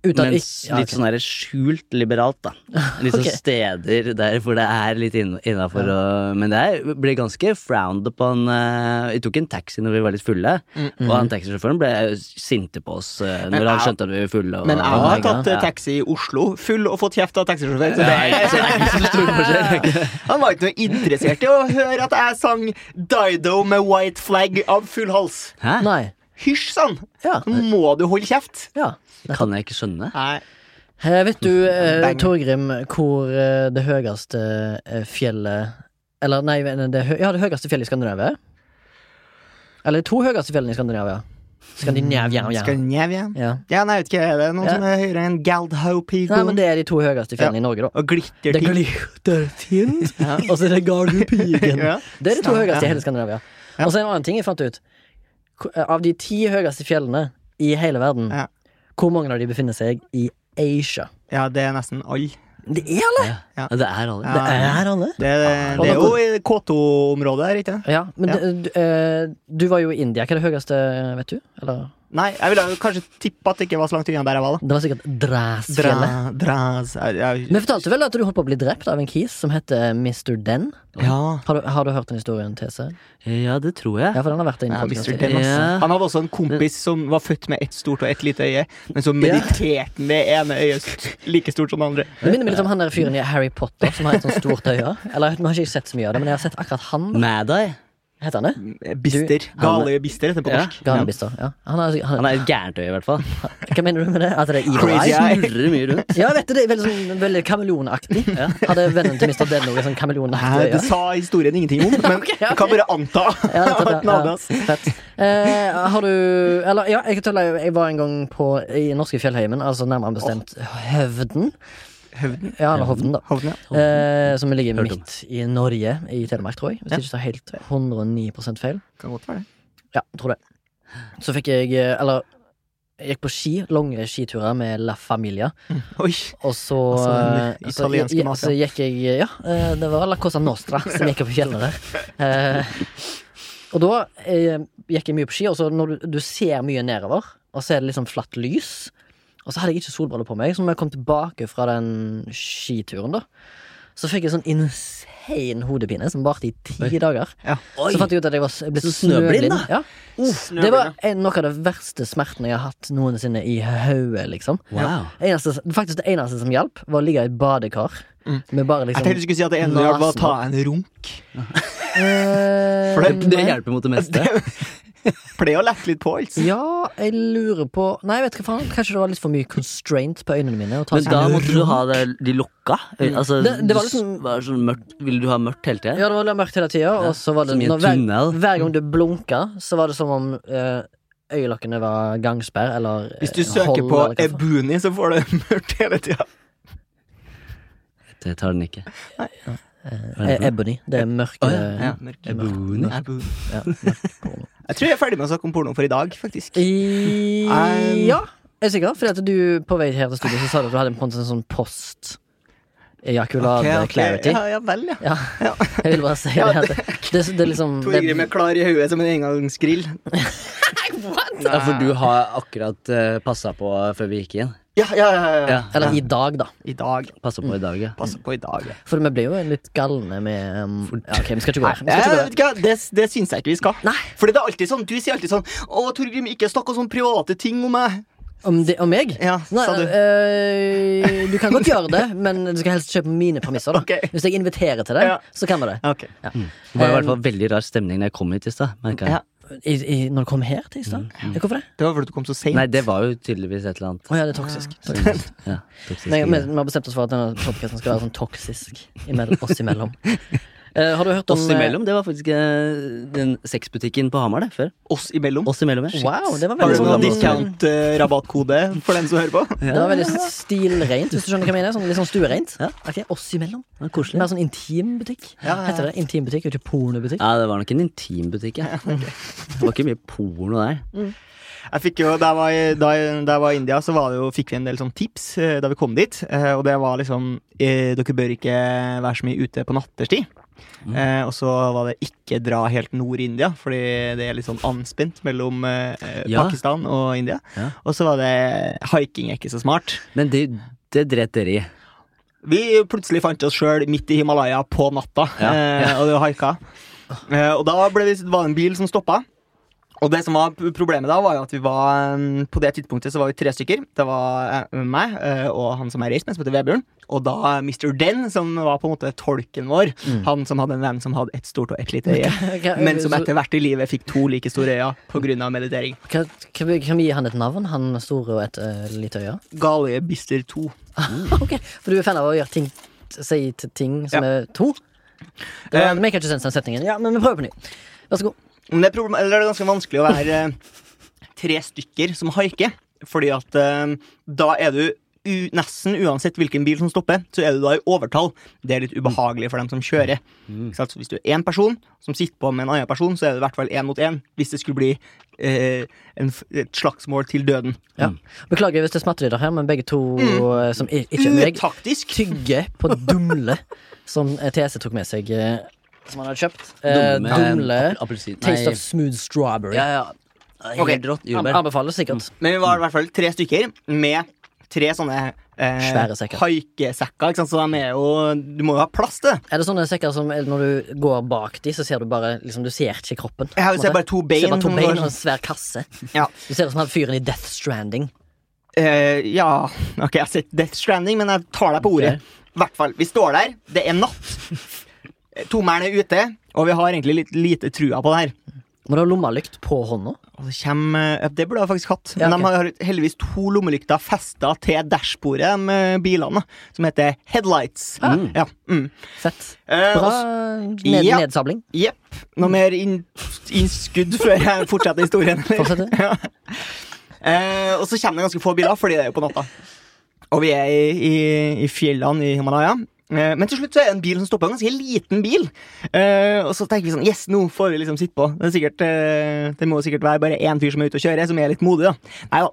A: Utad
C: men
A: ikke- ja,
C: litt
A: ok.
C: sånn der skjult liberalt, da. Litt sånn
A: Ok.
C: steder der hvor det er litt innafor og Men det er- ble ganske frowned upon. eh, Vi tok en taxi når vi var litt fulle, og han taxisjåføren ble sinte på oss eh, når
B: Men
C: han
B: jeg-
C: skjønte at vi var fulle. Og,
B: Men jeg
C: og,
B: har tatt eh, taxi i Oslo, full og fått kjeft av taxisjåfør. Så det altså,
C: Så altså, det er ikke så stor forskjell.
B: Han var ikke noe interessert i å høre at jeg sang Dido med White Flag av full hals.
C: Hæ? Mm.
A: Nei.
B: Hysj, sa han!
A: Ja.
B: Nå må du holde kjeft!
A: ja.
C: Det kan jeg ikke skjønne.
B: Nei.
A: Eh, Vet du, eh,
B: Mm. Bang.
A: Torgrim, hvor eh, det høyeste eh, fjellet Eller nei, men det, hø- ja, det høyeste fjellet i Skandinavia er? Eller de to høyeste fjellene i Skandinavia. Skandinavia,
B: Mm,
A: ja.
B: Skandinavia.
A: ja.
B: Ja, nei, jeg vet ikke, er det noen
A: Ja.
B: som er høyere enn
A: Nei, men
B: Galdhøpiglen?
A: det er de to høyeste fjellene i Norge, da.
B: Og glitterting.
A: glitterfint,
B: Ja.
A: og så er det Gardhupigen.
B: Ja.
A: Det er de to
B: Ja.
A: høyeste i hele Skandinavia.
B: Ja.
A: Og så en annen ting jeg fant ut. Ko- Av de ti høyeste fjellene i hele verden,
B: Ja.
A: hvor mange av de befinner seg i Asia?
B: Ja, det er nesten alle.
A: Det er alle!
C: Ja.
B: Ja.
C: Det er alle.
B: Ja.
A: Det er alle.
B: Det, er-
A: Ah.
B: det er jo i K2-området her, ikke det?
A: Ja, men
B: Ja.
A: det- Du, eh, du var jo i India. Hva er det høyeste, vet du? Eller?
B: Nei, jeg ville jo kanskje tippe at det ikke var så langt unna der jeg var, da.
A: Det var sikkert
B: Dra,
A: Dræsfjellet.
B: dras, jeg, jeg,
A: Men fortalte vel at du holdt på å bli drept av en kis som heter Mr. Den?
B: ja.
A: Har du, har du hørt den historien, TC?
C: Ja, det tror jeg.
A: Ja, for den har vært inne
B: Ja,
A: på
B: Mr.
A: podcasten.
B: Den, ass.
C: Ja.
B: Han hadde også en kompis som var født med ett stort og ett lite øye, men så mediterte han det ene øyet st- like stort som det andre.
A: Det minner meg litt om han der fyren i Harry Potter som har et sånt stort øye. Eller, nå har ikke jeg sett så mye av det, men jeg har sett akkurat han.
C: Mad-Eye.
A: Heter han det?
B: Bister.
A: Du, han-
B: Gale bister, heter det på
C: Ja.
B: norsk.
A: Ganebister. Ja. Han er, altså- han,
C: Han er et gærent øye, i hvert fall.
A: hva mener du med det? At det er evil
B: Crazy
A: eye?
B: eye.
C: Snurrer mye rundt.
A: Ja, vet du, det er veldig, sånn, veldig kameleonaktig. Hadde vennen til Mr. Den noe sånn
B: Hæ,
A: kameleonaktig
B: det
A: øye?
B: sa historien ingenting om, men
A: Ok,
B: jeg kan bare anta
A: Ja,
B: at
A: nettopp,
B: den hadde, ass.
A: ja. Ja, fett. Eh, har du Eller, ja, jeg, kan telle, jeg var en gang på i norske fjellheimen, altså nærmere bestemt Høvden.
B: Høvden?
A: Ja, eller Hovden, da.
B: Hovden, ja.
A: Eh, som ligger
C: Hørt om.
A: midt i Norge, i Telemark, tror jeg. Hvis jeg ikke tar helt 109 feil.
B: Kan godt være det.
A: Ja, jeg tror det. Så fikk jeg eh, Eller jeg gikk på ski, lange skiturer med La Familia,
B: Oi.
A: og så
B: Altså, den
A: eh,
B: italienske
A: så,
B: mafiaen.
A: så gikk jeg Ja, eh, det var La Cosa Nostra som gikk opp i fjellene der. Eh, og da eh, gikk jeg mye på ski, og så når du, du ser mye nedover, og så er det liksom flatt lys Og så hadde jeg ikke solbriller på meg, så når jeg kom tilbake fra den skituren, da så fikk jeg sånn insane hodepine som varte i ti dager.
B: Ja.
A: Så fant jeg ut at jeg var s- blitt
C: Så
A: snøblind.
C: snøblind, da.
A: Ja.
B: Snøblind,
A: Det var en, noe av det verste smerten jeg har hatt noensinne i hodet, liksom.
C: Wow.
A: Eneste, faktisk det eneste som hjalp, var å ligge i et badekar. Med bare
B: Jeg tenkte du
A: liksom
B: skulle si at det ene du gjorde, var å ta en runk.
A: eh,
B: For
C: Det, det
A: nei.
C: hjelper mot det meste.
B: Pleier å lette litt på, altså.
A: Ja, jeg lurer på Nei, vet du hva faen? Kanskje det var litt for mye constraint på øynene mine. å ta
C: Men
A: seg-
C: da måtte du ha det, de lukka? Øy, Altså,
A: Det- det var
C: du s-
A: liksom-
C: var sånn mørkt, ville du ha mørkt hele tida?
A: Ja, det var litt mørkt hele tida, og så var det
C: Som i en
A: når hver,
C: tunnel.
A: hver gang du blunka, så var det som om eh, øyelokkene var gangsperr eller eh,
B: Hvis du
A: hold, altså.
B: søker på
A: eller hva faen.
B: Ebuni, så får du mørkt hele tida.
C: Det tar den ikke. Hva er det
A: Eh,
C: for noe?
A: Ebony. Det er mørke
C: Å, ja,
B: Ja, mørkt.
C: Ebony.
B: Ebuni.
A: ja, mørk porno.
B: Jeg tror jeg er ferdig med å snakke om porno for i dag, faktisk.
A: I,
B: Um,
A: ja, er du sikker? Fordi at du på vei her til studio Så sa du at du hadde en, på en sånn post Ejakulade
B: Ok, ok.
A: clarity
B: Ja, ja vel, ja.
A: ja. jeg vil bare si
B: Ja,
A: det, at det, det, det er liksom det,
B: Torgrim er klar i hodet som en engangsgrill.
C: Ja, for du har akkurat uh, passa på før vi gikk inn?
B: Ja, ja, ja, ja.
C: Ja.
A: Eller i dag da
B: I dag.
C: Passa på i dag, ja.
B: Passe på i dag. Ja.
A: For vi blir jo litt galne med um, ja, Ok, vi skal ikke gå der Vi skal
B: Jeg,
A: ikke gå
B: vet ikke, hva, det, det syns jeg ikke vi skal.
A: Nei.
B: Fordi det er alltid sånn, Du sier alltid sånn 'Å, Torgrim, ikke snakk om sånne private ting om meg'.
A: der Om, det, om meg?
B: Ja,
A: Nei,
B: sa du.
A: øh, du kan godt gjøre det Men du skal helst kjøpe mine premisser da
B: Ok.
A: Hvis jeg inviterer til det,
B: Ja.
A: så kan vi det
B: Ok.
A: ja.
C: Det var i hvert
A: Um,
C: fall veldig rar stemning da jeg kom hit i stad. merket jeg.
B: Ja.
A: i, i, Når du kom her til i sted
B: Mm.
A: Hvorfor det?
B: Det var fordi du kom så seint.
C: Nei, det var jo tydeligvis et eller annet.
A: Åja, det er toksisk
C: Ja, toksisk
A: Nei, vi,
C: greie.
A: vi har bestemt oss for at denne podcasten skal være sånn toksisk imell- oss imellom. Eh, har du hørt om
C: Oss imellom, det var faktisk eh, den sexbutikken på Hamar, det, før.
B: Oss imellom.
C: Oss imellom, ja.
A: eh,
C: Shit.
A: Wow, det var
B: Har
A: veldig
B: du noen
A: sånn,
B: discount-rabattkode for den som hører på?
A: Det var veldig stilrent, hvis du skjønner hva jeg mener. Sånn, litt sånn stuereint. Ok, Oss imellom.
C: Det var koselig.
A: Mer sånn intimbutikk.
B: Ja, ja, ja.
A: Heter det intimbutikk, og ikke pornobutikk?
C: Ja, det var nok en intimbutikk, ja. Det var ikke mye porno der.
B: Jeg fikk jo, da jeg var, i- da jeg, da jeg var i India, så var det jo, fikk vi en del sånn tips eh, da vi kom dit. eh, Og det var liksom eh, Dere bør ikke være så mye ute på nattestid.
C: Mm.
B: Eh, og så var det ikke dra helt nord i India, fordi det er litt sånn anspent mellom eh,
C: Ja.
B: Pakistan og India.
C: Ja.
B: Og så var det hiking er ikke så smart.
C: Men det, det dret dere i.
B: Vi plutselig fant oss sjøl midt i Himalaya på natta
C: Ja, ja.
B: Eh, og det var haika. Eh, og da ble vi, var det en bil som stoppa. Og det som var p- problemet da, var jo at vi var um, På det tidspunktet så var vi tre stykker. Det var eh, meg eh, og han som jeg reiste med, som heter Vebjørn. Og da eh, Mr. Den, som var på en måte tolken vår.
C: Mm.
B: Han som hadde en venn som hadde ett stort og ett lite øye. Men som etter hvert i livet fikk to like store øyne pga. meditering.
A: Kan, kan, vi, kan vi gi han et navn? Han store og et eh, lite øye?
B: Gale Bister 2.
A: Ok, For du er fan av å gjøre ting si til ting som
B: Ja.
A: er to? Det var,
B: Eh,
A: vi kan ikke sense den setningen. Ja, men vi prøver på ny. Vær så god.
B: Men det er, problem, eller det er ganske vanskelig å være eh, tre stykker som haiker. Fordi at eh, da er du u, nesten uansett hvilken bil som stopper, så er du da i overtall. Det er litt ubehagelig for dem som kjører.
A: Mm.
B: Ikke sant? Så hvis du er én person som sitter på med en annen person, så er det i hvert fall én mot én. Hvis det skulle bli eh, en, f- et slagsmål til døden.
A: Ja. Beklager hvis det er smattelyder her, men begge to eh, som i- ikke er meg,
B: Utaktisk!
A: tygger på dumle som eh, TC tok med seg. eh, Som han hadde kjøpt. Eh,
C: Dumme-
A: dumle.
C: Apel- Appelsin.
A: Taste
C: Nei,
A: of smooth strawberry.
C: Ja, ja. Helt
B: Ok.
C: rått
A: An-
C: jordbær. Mm.
A: Anbefales sikkert.
B: Men vi var i hvert fall tre stykker med tre sånne eh,
A: Svære sekker.
B: haikesekker. Ikke sant? Så de er jo Du må jo ha plass til det.
A: Er det sånne sekker som eh, når du går bak de, så ser du bare liksom, Du ser ikke kroppen?
B: Jeg
A: på en
B: har jo
A: måte?
B: sett bare to
A: Du
B: bein.
A: ser bare to
B: som
A: bein
B: går
A: og
B: sånn.
A: en svær kasse.
B: Ja.
A: Du ser ut som han fyren i Death Stranding.
B: Eh, ja Ok, jeg har sett Death Stranding, men jeg tar deg på ordet. I hvert fall. Vi står der, det er natt. Eh, Tommelen er ute, og vi har egentlig litt lite trua på det her.
A: Må du ha lommelykt på hånda?
B: Og så kommer, eh, Det burde jeg faktisk hatt.
A: Ja,
B: Men
A: ok.
B: de har heldigvis to lommelykter festa til dashbordet, de eh, bilene, som heter headlights. Ja, mm.
A: Fett.
B: Eh, og
A: Bra
B: så-
A: ned,
B: Ja.
A: nedsabling.
B: Jepp. Noe mer inn- innskudd før jeg fortsetter historien? eller?
A: Fortsett.
B: Ja. Eh, og så kommer det ganske få biler, fordi det er jo på natta. Og vi er i, i, i fjellene i Himalaya. Eh, Men til slutt så er det en bil som stopper, en ganske liten bil. Eh, og så tenker vi sånn Yes, nå får vi liksom sitte på. Det, er sikkert, eh, det må sikkert være bare én fyr som er ute og kjører, som er litt modig, da. Nei da.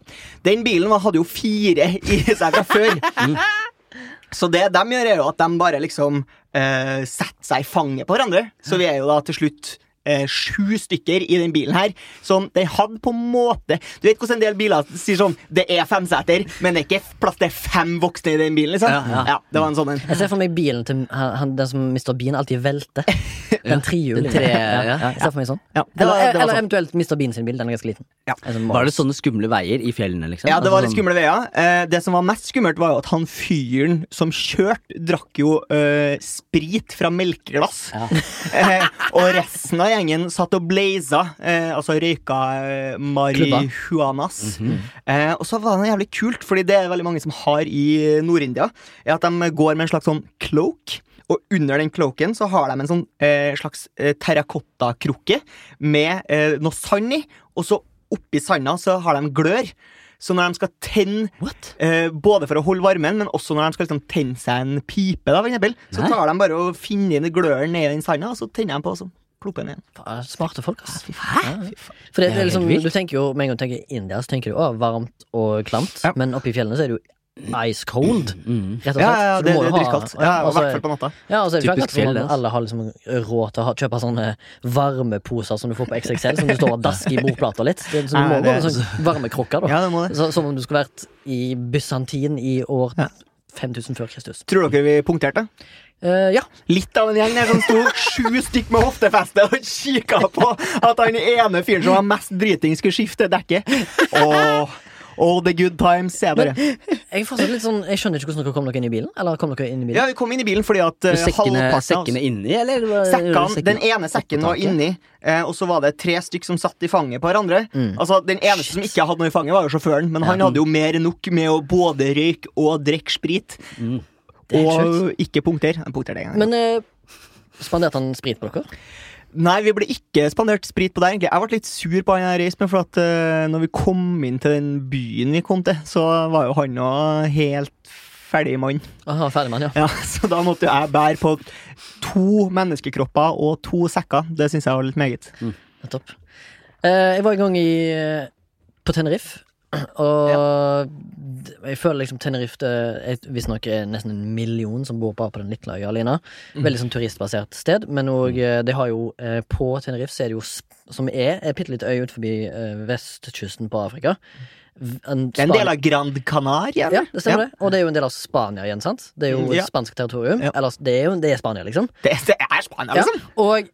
B: Den bilen var- hadde jo fire i seg fra før. Så det de gjør, er jo at de bare liksom eh, setter seg i fanget på hverandre. Så vi er jo da til slutt eh, sju stykker i den bilen her. Som den hadde på en måte Du vet hvordan en del biler sier sånn Det er fem seter, men det er ikke f- plass til fem voksne i den bilen. liksom
C: Ja, ja.
B: Det var en sånn en.
A: Jeg ser for meg bilen til han, han- den som Mr. Bean alltid velter. Den trehjulen.
C: Den tre-
A: Ja,
C: ja, ja.
A: Jeg ser for meg sånn.
B: Ja, det
A: Eller,
B: var, det var
A: eller
B: sånn.
A: eventuelt Mr. Bean sin bil. Den er ganske liten.
B: Ja.
A: Altså, må-
C: Var det
B: sånn-
C: sånne skumle veier i fjellene, liksom?
B: Ja, det var litt
C: Altså sånn-
B: skumle veier. Eh, det som var mest skummelt, var jo at han fyren som kjørte, drakk jo eh, sprit fra melkeglass. eh, og resten av gjengen satt og blaza, eh, altså røyka eh, marihuanas. eh, og så var det jævlig kult, fordi det er veldig mange som har i eh, Nord-India, er at de går med en slags sånn cloak. Og under den cloaken så har de en sånn eh, slags eh, terrakottakrukke med eh, noe sand i, og så oppi sanda så har de glør. Så når de skal tenne
A: What?
B: Eh, både for å holde varmen, men også når de skal liksom, tenne seg en pipe. Da, for eksempel, så
C: Nei.
B: tar de bare og finner inn gløren ned i den sanda, og så tenner de på, og så plopper den igjen.
A: Faen, Smarte folk, ass.
B: Hæ?
A: For det, det
C: Det er
A: er liksom,
C: helt vilt.
A: du tenker jo, Med en gang du tenker India, så tenker du å, varmt og klamt.
B: Ja.
A: Men oppe i fjellene så er det jo ice cold.
C: Mhm.
A: Rett og slett.
B: Ja, ja,
A: Så du
B: det,
A: må jo
B: det er
A: ha- altså-
B: dritkaldt. Ja, I
A: og så er-
B: hvert fall på natta.
A: Ja, og så er det
C: Typisk
A: klart at
C: fjell, det,
A: man-
C: altså.
A: alle har liksom råd til å ha, kjøpe sånne varmeposer som du får på XXL, som du står og dasker i bordplata litt. Det, er- så du
B: Nei,
A: må gå
B: det-
A: med sånne varmekrokker, da.
B: Ja, det må det.
A: Så, som om du skulle vært i Bysantin i år 5000 før Kristus.
B: Tror dere vi punkterte?
A: Eh, ja.
B: Litt av en gjeng der som sto sju stykk med hoftefeste og kikka på at han ene fyren som var mest driting, skulle skifte dekket. Åh, oh, the good times, sier jeg bare.
A: Jeg, er fortsatt litt sånn, jeg skjønner ikke hvordan dere kom dere inn i bilen. Eller kom dere inn i bilen?
B: Ja, vi kom inn i bilen fordi at eh,
C: Med
B: halvparten
C: Sekkene,
A: altså.
B: av oss-
C: sekkene inni, eller? Hva-
A: Eh,
B: Sekkene,
C: sekkene-
B: den ene sekken var
C: Opptaket.
B: inni, eh, og så var det tre stykk som satt i fanget på hverandre.
A: Mm.
B: Altså, Den eneste som ikke hadde noe i fanget, var jo sjåføren, men han hadde jo mer enn nok med å både røyke og drikke sprit.
A: Mm. Det er
B: Og ikke punkter. Han punkterte en gang.
A: Men eh, spanderte han sprit på dere?
B: Nei, vi ble ikke spandert sprit på deg, egentlig. Jeg ble litt sur på han jeg reiste med, for at eh, når vi kom inn til den byen vi kom til, så var jo han òg helt ferdig mann.
A: Aha, ferdig med han, ja.
B: Ja, så da måtte jo jeg bære på to menneskekropper og to sekker. Det syns jeg var litt meget.
A: Nettopp. Eh, jeg var en gang i, eh, på Tenerife, og d- jeg føler liksom Tenerife det er visstnok er nesten en million som bor bare på den lille øya alene.
B: Mhm.
A: Veldig sånn turistbasert sted, men og, eh, det har jo eh, på Tenerife så er det jo sp- som er en bitte liten øy ut forbi eh, vestkysten på Afrika. V- En,
B: Det er en
A: Spania-
B: del av Grand Canaria.
A: ja, det stemmer det. Og det er jo en del av Spania igjen, sant? Det er jo
B: Mm, ja.
A: spansk territorium.
B: Ja.
A: Eller det er jo det er Spania, liksom.
B: Det, det er Spania,
A: Ja.
B: liksom.
A: Og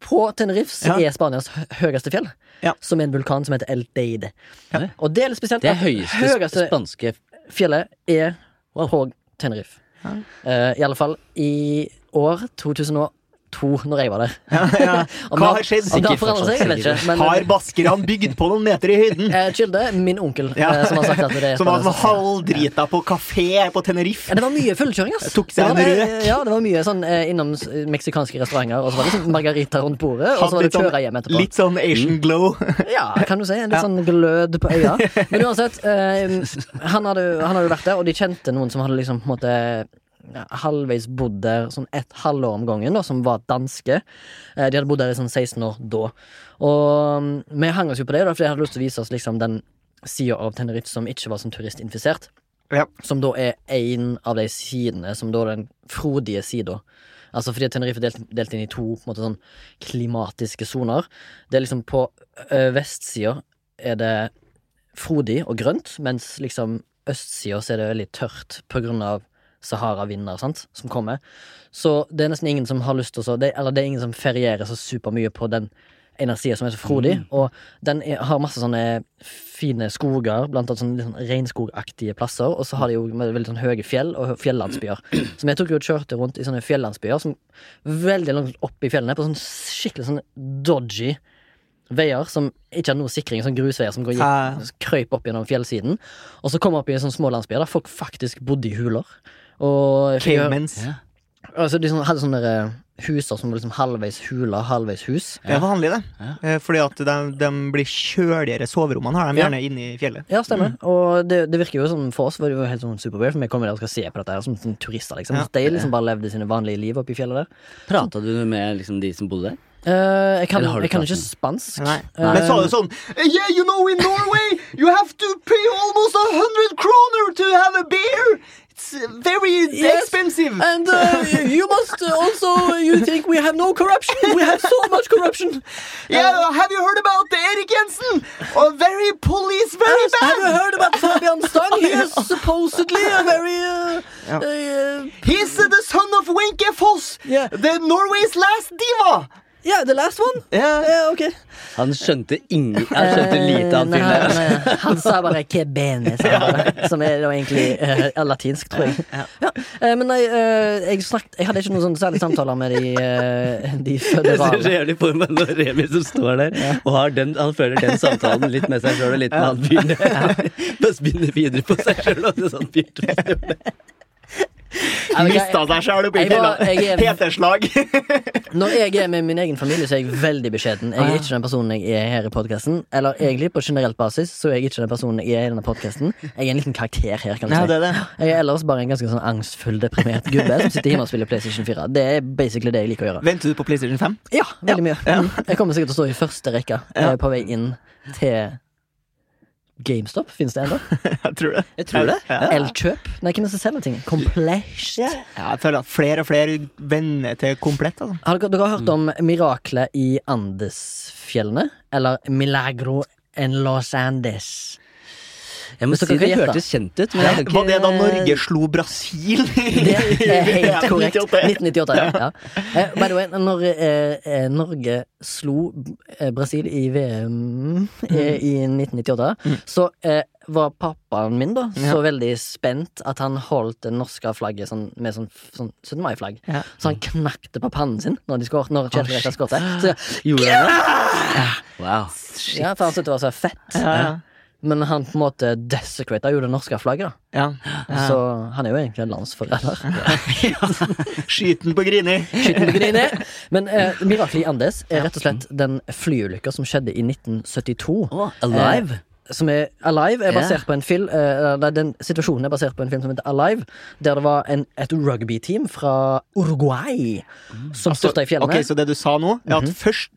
A: På Tenerife så
B: Ja.
A: er Spanias hø- høyeste fjell,
B: Ja.
A: som er en vulkan som heter El Deide.
C: Ja.
A: Og det er litt spesielt.
C: Det
A: at
C: er høyeste,
A: høyeste
C: spanske
A: fjellet er på Tenerife. Eh, I alle fall i år 2002, når jeg var der. Om
B: Hva
A: det
B: har skjedd?
A: Om det har
C: Sikkert
A: forandret seg, jeg vet ikke. Men
B: Har baskerne bygd på noen meter i høyden?
A: eh, kilde, min onkel,
B: Ja.
A: eh, som har sagt at det er
B: Som var
A: Spanias-
B: sånn halvdrita på kafé på
A: Ja,
B: Tenerife?
A: det var mye fullkjøring, ass.
B: Jeg tok seg
A: Det var-
B: en røyk.
A: Ja, det var mye sånn eh, innom s- meksikanske restauranter, og så var det sånn margarita rundt bordet, og så var det kjøre hjem etterpå.
B: litt sånn
C: Mm.
B: Asian glow.
A: Ja, kan du si. En litt sånn glød på øya. Men uansett, eh, han hadde han hadde jo vært der, og de kjente noen som hadde liksom på en måte ja, halvveis bodd der sånn et halvår om gangen, da, som var danske. Eh, de hadde bodd der i sånn 16 år da. Og mm, vi hang oss jo på det, da, for de hadde lyst til å vise oss liksom den sida av Tenerife som ikke var som turistinfisert.
B: Ja.
A: Som da er en av de sidene som da er den frodige sida. Altså fordi Tenerife er delt, delt inn i to på en måte sånn klimatiske soner. Det er liksom på ø, vestsida er det frodig og grønt, mens liksom østsida så er det veldig tørt på grunn av Sahara-vinder sant, som kommer. Så det er nesten ingen som har lyst til å så- det, Eller det er ingen som ferierer så supermye på den ene sida som er så frodig. Og den er, har masse sånne fine skoger, blant annet sånne litt sånn regnskogaktige plasser. Og så har de jo veldig, veldig sånn høye fjell og hø- fjellandsbyer. Så jeg tok jo og kjørte rundt i sånne fjellandsbyer som veldig langt opp i fjellene, på sånn skikkelig sånn dodgy veier som ikke har noe sikring, sånn grusveier som går gikk
B: Ja.
A: krøyp opp gjennom fjellsiden. Og så kom jeg opp i en sånn små landsbyer der folk faktisk bodde i huler. Og jeg fikk høre-
B: Caymans.
C: Ja.
A: altså, de sånn, hadde sånne der, eh, huser som var liksom halvveis hula, halvveis hus.
B: Det er vanlig, det.
C: Ja.
B: Eh, Fordi at de, de blir kjøligere soverommene, har de
A: Ja.
B: gjerne inne i fjellet.
A: Ja, stemmer. Og det, det virker jo som for oss var det jo helt sånn superweird, for vi kommer der og skal se på dette her som, som turister, liksom.
B: Ja.
A: Mens De liksom bare levde sine vanlige liv oppi fjellet der.
C: Prata du med liksom, de som bodde der?
A: Eh, jeg kan,
C: Eller har du
A: jeg kan ikke
C: pratet med dem?
A: spansk.
B: Nei.
A: Eh,
B: Men sa du sånn Yeah, you know, in Norway you have to pay almost a hundred kroner to have a beer! It's very
A: Yes.
B: expensive!
A: And uh, you must also you think we have no corruption? We have so much corruption.
B: Yeah, have you heard about Erik Jensen? A very police, very
A: Uh, Have you
B: bad!
A: heard about Fabian Stang? He is supposedly a very uh,
B: Ja.
A: uh,
B: He's the son of Wenche Foss,
A: Yeah.
B: the Norway's last diva!
A: Yeah, the last one? Yeah, ok.
C: Han skjønte, ingen, han skjønte lite av
A: Nei,
C: filmen.
A: han, eh, han sa bare 'que bene', sa han bare, som er da egentlig eh, er latinsk, tror jeg. Ja. eh, men nei, eh, jeg, snakket, jeg hadde ikke noen sånn særlig samtaler med de, eh, de
C: Jeg ser så
A: føderale.
C: jævlig for meg når Remi som står der og har den, han føler den samtalen litt med seg sjøl og litt med han fyren der. Bare spinner videre på seg sjøl og så sånn fyrt opp stemmen.
A: Ja, men jeg-
B: Mista seg sjæl oppi
A: jeg var-
B: fjellet.
A: jeg er-
B: Peterslag.
A: Når jeg er med min egen familie, så er jeg veldig beskjeden. Jeg er ikke den personen jeg er her i podkasten. Eller egentlig, på generelt basis, så er jeg ikke den personen jeg er i denne podkasten. Jeg er en liten karakter her, kan du
B: Ja, det
A: si.
B: er det.
A: Jeg er ellers bare en ganske sånn angstfull, deprimert gubbe som sitter hjemme og spiller PlayStation 4. Det er basically det jeg liker å gjøre.
B: Venter du på PlayStation 5?
A: Ja, veldig mye. Mm. Jeg kommer sikkert til å stå i første rekka eh, på vei inn til GameStop. Fins det ennå?
B: Jeg tror det.
C: Jeg tror det.
B: Ja.
A: Elkjøp? Nei, hvem er det som selger ting? Komplett.
B: Ja, jeg føler at flere og flere venner til komplett. Altså.
A: Har dere, dere har hørt om miraklet i Andesfjellene? Eller Milagro en Los Andes?
C: Jeg må
A: Hvis dere
C: si det
A: kan gjette.
C: hørtes kjent ut, men jeg har ikke
B: Var det da Norge slo Brasil?
A: Det er helt korrekt. 1998. Ja. Eh, by the way, når eh, eh, Norge slo eh, Brasil i VM eh,
B: Mm.
A: i 1998, så eh, var pappaen min da så veldig spent at han holdt det norske flagget sånn, med sånn, sånn 17. mai-flagg.
B: Ja.
A: Så han knakk det på pannen sin når, de skår, når Kjetil Rekdal skåret. Så
C: Gjorde han det? Wow. Shit.
A: Ja, for han syntes det var så fett.
B: Ja, ja.
A: Men han på en måte desecrata jo det norske flagget, da.
B: Ja.
A: Så han er jo egentlig en landsforræder.
B: Skyten på Grini.
A: Skyten ligger inne. Men eh, miraklet i Andes er rett og slett den flyulykka som skjedde i 1972.
C: Å, Alive?
A: Eh, som er Alive er
C: Ja.
A: basert på en film eh, nei, Den situasjonen er basert på en film som heter Alive, der det var en, et
B: Altså,
C: Mm. Altså,
A: rugbyteam fra Uruguay som styrta i Mhm. fjellene.
B: Ok, Så det du sa nå, er at først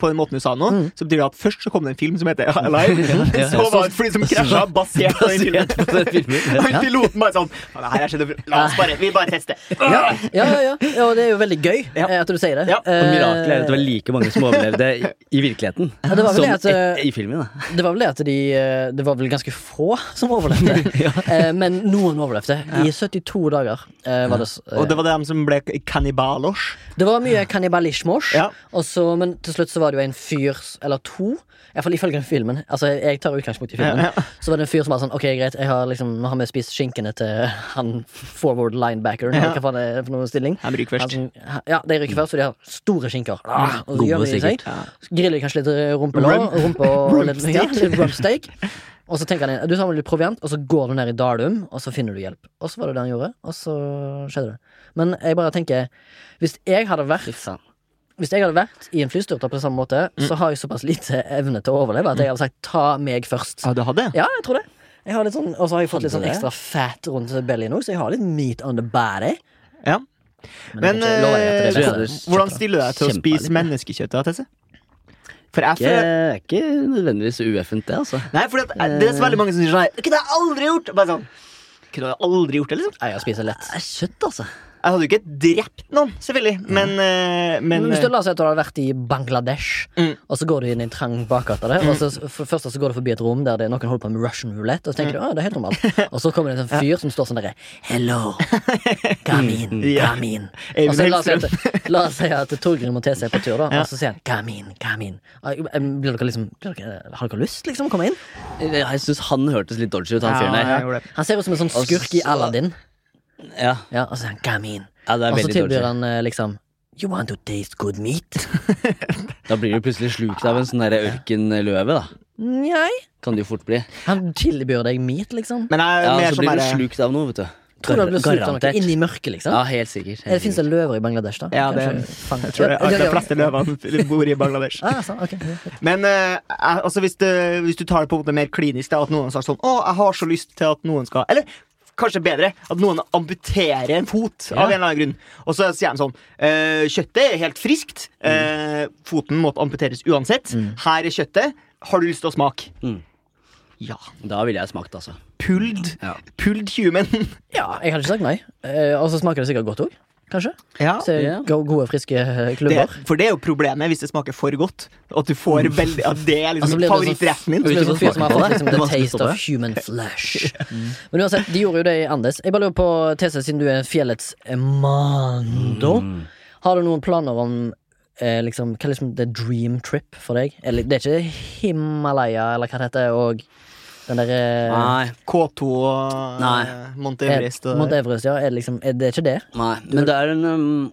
B: på den måten du sa
A: Mhm.
B: nå, så betyr det at først så kom det en film som heter Alive.
C: ja.
B: Så var det et fly som krasja basert på den filmen.
C: Basert på den filmen.
B: Og piloten bare sånn "Ja, det her er skjedd før. La oss bare, vi bare teste.
A: Ja, ja, ja, ja. ja og det er jo veldig gøy
B: Ja.
A: eh, at du sier det.
B: Ja. Og
C: Og
A: Eh,
C: Mirakelet er at det var like mange som overlevde i, i virkeligheten
A: Ja, det var vel
C: som
A: det at,
C: i, i filmen. da
A: det var vel det at de eh, Det var vel ganske få som overlevde. Eh, Men noen overlevde. I 72 dager eh, var det s- eh,
B: Og det var dem som ble kannibalos.
A: Det var mye kannibalismos,
B: Ja.
A: og så- men til slutt så var det jo en fyr s- eller to. Iallfall ifølge den filmen. Altså, jeg tar utgangspunkt i filmen.
B: Ja,
A: Så var det en fyr som var sånn Ok, greit, jeg har liksom, nå har vi spist skinkene til han forward linebackeren. eller Hva faen er det for noen stilling?
B: De ryker først.
A: Han som- ja, de ryker først, og de har store skinker. Ah, og så
C: Gode,
A: gjør de i seg.
C: sikkert.
A: Så griller de kanskje litt rumpelår.
B: Rump-
A: Rumpe og litt, ja,
B: Rumpsteak.
A: litt rumpsteak. Og så tenker han du tar med litt proviant, og så går du ned i Dalum, og så finner du hjelp. Og så var det det han gjorde, og så skjedde det. Men jeg bare tenker Hvis jeg hadde vært hvis jeg hadde vært i en flystyrt på samme måte, så har jeg såpass lite evne til å overleve at jeg hadde sagt ta meg først.
B: Ja, du hadde det?
A: Ja, jeg tror det. Jeg har litt sånn, og så har jeg fått litt
C: Hadde
A: sånn
C: det?
A: ekstra fat rundt belly nå, så jeg har litt meat on the body.
B: Ja.
A: jeg
B: Men
A: kan ikke love deg at det
B: eh,
A: er
C: det
A: beste.
B: hvordan stiller du deg til å
A: Kjempe-
B: spise menneskekjøtt? da, Tesse? For jeg
C: Ikke,
B: føler
C: ikke nødvendigvis ueffent, det, altså.
B: Nei, for det, det er så veldig mange som sier sånn her. Det kunne jeg aldri gjort! Bare sånn. Kunne jeg aldri gjort det, liksom?
A: Nei, jeg spiser lett.
C: Det er kjøtt, altså.
B: Jeg hadde jo ikke drept noen, selvfølgelig, men, eh, men
A: Men hvis
B: eh,
A: du la oss si at du hadde vært i Bangladesh,
B: Mm.
A: og så går du inn i en trang bakgate der, og så
C: Mm.
A: for først så går du forbi et rom der det er noen holder på med Russian roulette, og så tenker du å, det er helt normalt. Og så kommer det en sånn fyr som står sånn derre Hello, come in,
B: Ja.
A: come in.
B: Eivind
A: Og så la oss si
B: Hellstrøm.
C: liksom?
A: at, la oss si at Torgrim og TC er på tur, da, og så sier han come in, come in. Ah, Blir dere liksom blir dere, Har dere lyst, liksom, å komme inn?
C: Jeg syns han hørtes litt dodgy ut, han
B: ja,
C: fyren
B: jeg
C: der.
B: gjorde det.
A: Han ser ut som en sånn
C: Og
A: skurk i
C: så-
A: Aladdin.
C: Ja,
A: Ja, og så sier han come in.
C: ja det er
A: Og så
C: veldig
A: tilbyr
C: dodgy.
A: han eh, liksom You want to taste good meat?
C: Da blir du plutselig slukt av en sånn der ørkenløve, da.
A: Nei.
C: Kan det jo fort bli.
A: Han tilbyr deg meat, liksom.
B: Men jeg er
C: Ja,
B: mer
C: Så
B: som
C: blir du
B: bare-
C: slukt av noe, vet du.
A: Tror du det blir slutt av noe
C: Garantert.
A: inni mørket, liksom?
C: Ja, helt sikkert.
A: Eller
C: Helt
A: Fins det løver i Bangladesh, da?
B: Ja, det-
A: Kanskje fang-
B: Jeg tror det
A: Ja,
B: er
A: ja,
B: de
A: ja.
B: fleste løvene bor i Bangladesh.
A: Ah, sånn, ok. Ja,
B: Men eh, jeg- altså, hvis, det, hvis du tar det på en måte mer klinisk, da, at noen har sagt sånn Å, jeg har så lyst til at noen skal Eller kanskje bedre, at noen amputerer en fot av en eller annen grunn. Og så sier de sånn «Eh, Kjøttet er helt friskt. Eh, foten måtte amputeres uansett. Her er kjøttet. Har du lyst til å smake?
C: Mm.
B: Ja.
C: sikkert. Da ville jeg smakt, altså.
B: Pulled.
C: Ja.
B: Pulled human.
A: ja, jeg hadde ikke sagt nei. Eh, og så smaker det sikkert godt òg, kanskje.
B: Ja.
A: Så
C: ja.
A: go- Gode, friske eh,
B: Det,
A: klubber.
B: for det er jo problemet hvis det smaker for godt. At du får veldig At det er
A: Og så
B: liksom
A: blir det sånn-
B: favorittretten din.
A: så blir det sånn fyr som har fått liksom,
C: Det
A: The
C: er vanskelig å
A: taste
C: stoppe.
A: of human flesh. Men uansett, de gjorde jo det i Andes. Jeg bare lurer på, TC, siden du er fjellets eh, mando,
C: Mm.
A: har du noen planer om eh, liksom, Hva er liksom the dream trip for deg? Eller, det er ikke Himalaya, eller hva det heter, og den eh, derre
C: Nei,
B: K2 og
C: Nei.
B: eh, Mount Ah, Everest. Og,
A: Mount Everest, ja. Er det, liksom, er det ikke det?
C: nei. Men det er en um,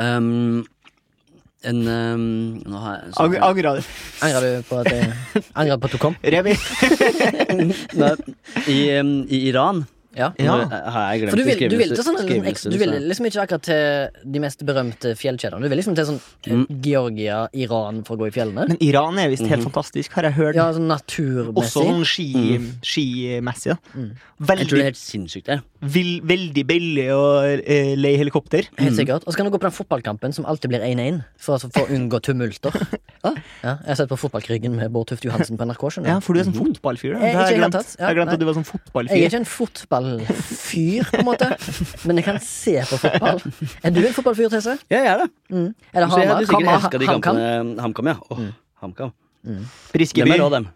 C: um, En um, Nå har jeg
B: Ang, angra det.
A: Angrer du på at, jeg, angrer på at du kom?
B: Remi.
C: Nei, I, um, I Iran
A: Ja.
C: Nå
B: Ja.
C: har jeg glemt
A: For du vil,
C: å skrive
A: du vil,
C: ut-
A: til sånne,
C: skrive ut-
A: liksom, du vil liksom ikke akkurat til de mest berømte fjellkjedene. Du vil liksom til sånn eh,
C: Mm.
A: Georgia, Iran, for å gå i fjellene.
B: Men Iran er visst helt
C: Mhm.
B: fantastisk, har jeg hørt.
A: Ja, sånn
B: Også
A: naturmessig.
B: sånn ski- skimessig. da.
C: Mhm. Jeg tror det
B: Veldig,
C: er helt sinnssykt der.
B: vil, veldig billig å eh, leie helikopter.
C: Mm.
A: Helt sikkert. Og så kan du gå på den fotballkampen som alltid blir 1-1, for, å- for å unngå tumulter. Ja, jeg har sett på Fotballkrigen med Bård Tufte Johansen på NRK. skjønner
B: Ja,
A: du.
B: for du er
C: Mhm.
B: sånn fotballfyr.
A: Jeg-
B: da. Det har
A: ikke i
B: jeg
A: det hele
B: glemt,
A: tatt. Ja,
B: jeg har glemt
A: nei.
B: at du var sånn
A: Jeg er
B: fotballfyr.
A: ikke en fotballfyr, på en måte, men jeg kan se på fotball. Er du en fotballfyr, Tese?
C: Ja, jeg er det.
A: Mm. Er det
C: Så jeg hadde
A: Hamar?
C: jo sikkert
A: Hamar-
C: elska de
A: HamKam?
C: kampene. HamKam, ja. Åh, HamKam. Dem
B: Briskeby.
C: er rå, dem.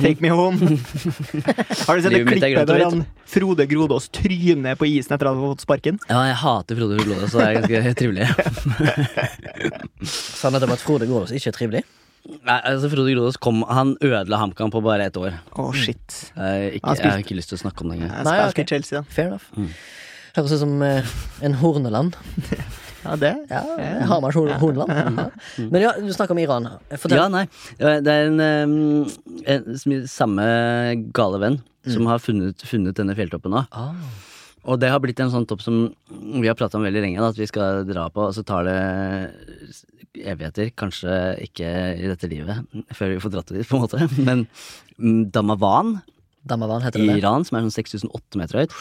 B: Take me home. Har du sett det
C: Livet mitt
B: klippet
C: er grønt og
B: der
C: hvitt.
B: han Frode Grodås tryner på isen etter at han har fått sparken?
C: Ja, jeg hater Frode Ulås, så det er ganske trivelig.
A: Sannheten om at Frode Grålås ikke er trivelig?
C: Nei, altså Frode Grodås kom Han ødela HamKam på bare ett år.
B: Å, shit.
C: Jeg, ikke,
B: Han
C: jeg
B: spilte-
C: har ikke lyst til å snakke om det engang.
B: Jeg
A: Nei,
B: spilte
A: ok.
B: i Chelsea, da.
A: Fair enough.
C: Mm.
A: Høres ut som eh, en Horneland.
B: Ja, det.
A: Ja, Hamars Hor- Horneland. Ja. Men ja, du snakker om Iran. Fortell.
C: Ja, nei. Det er en, um, en sm- samme gale venn som har funnet, funnet denne fjelltoppen nå.
A: Ah.
C: Og det har blitt en sånn topp som vi har prata om veldig lenge, da, at vi skal dra på, og så tar det evigheter, kanskje ikke i dette livet, før vi får dratt det dit, på en måte. Men mm, Damavan
A: Damavan heter
C: i
A: det. det.
C: Iran, som er sånn 6008 meter høyt.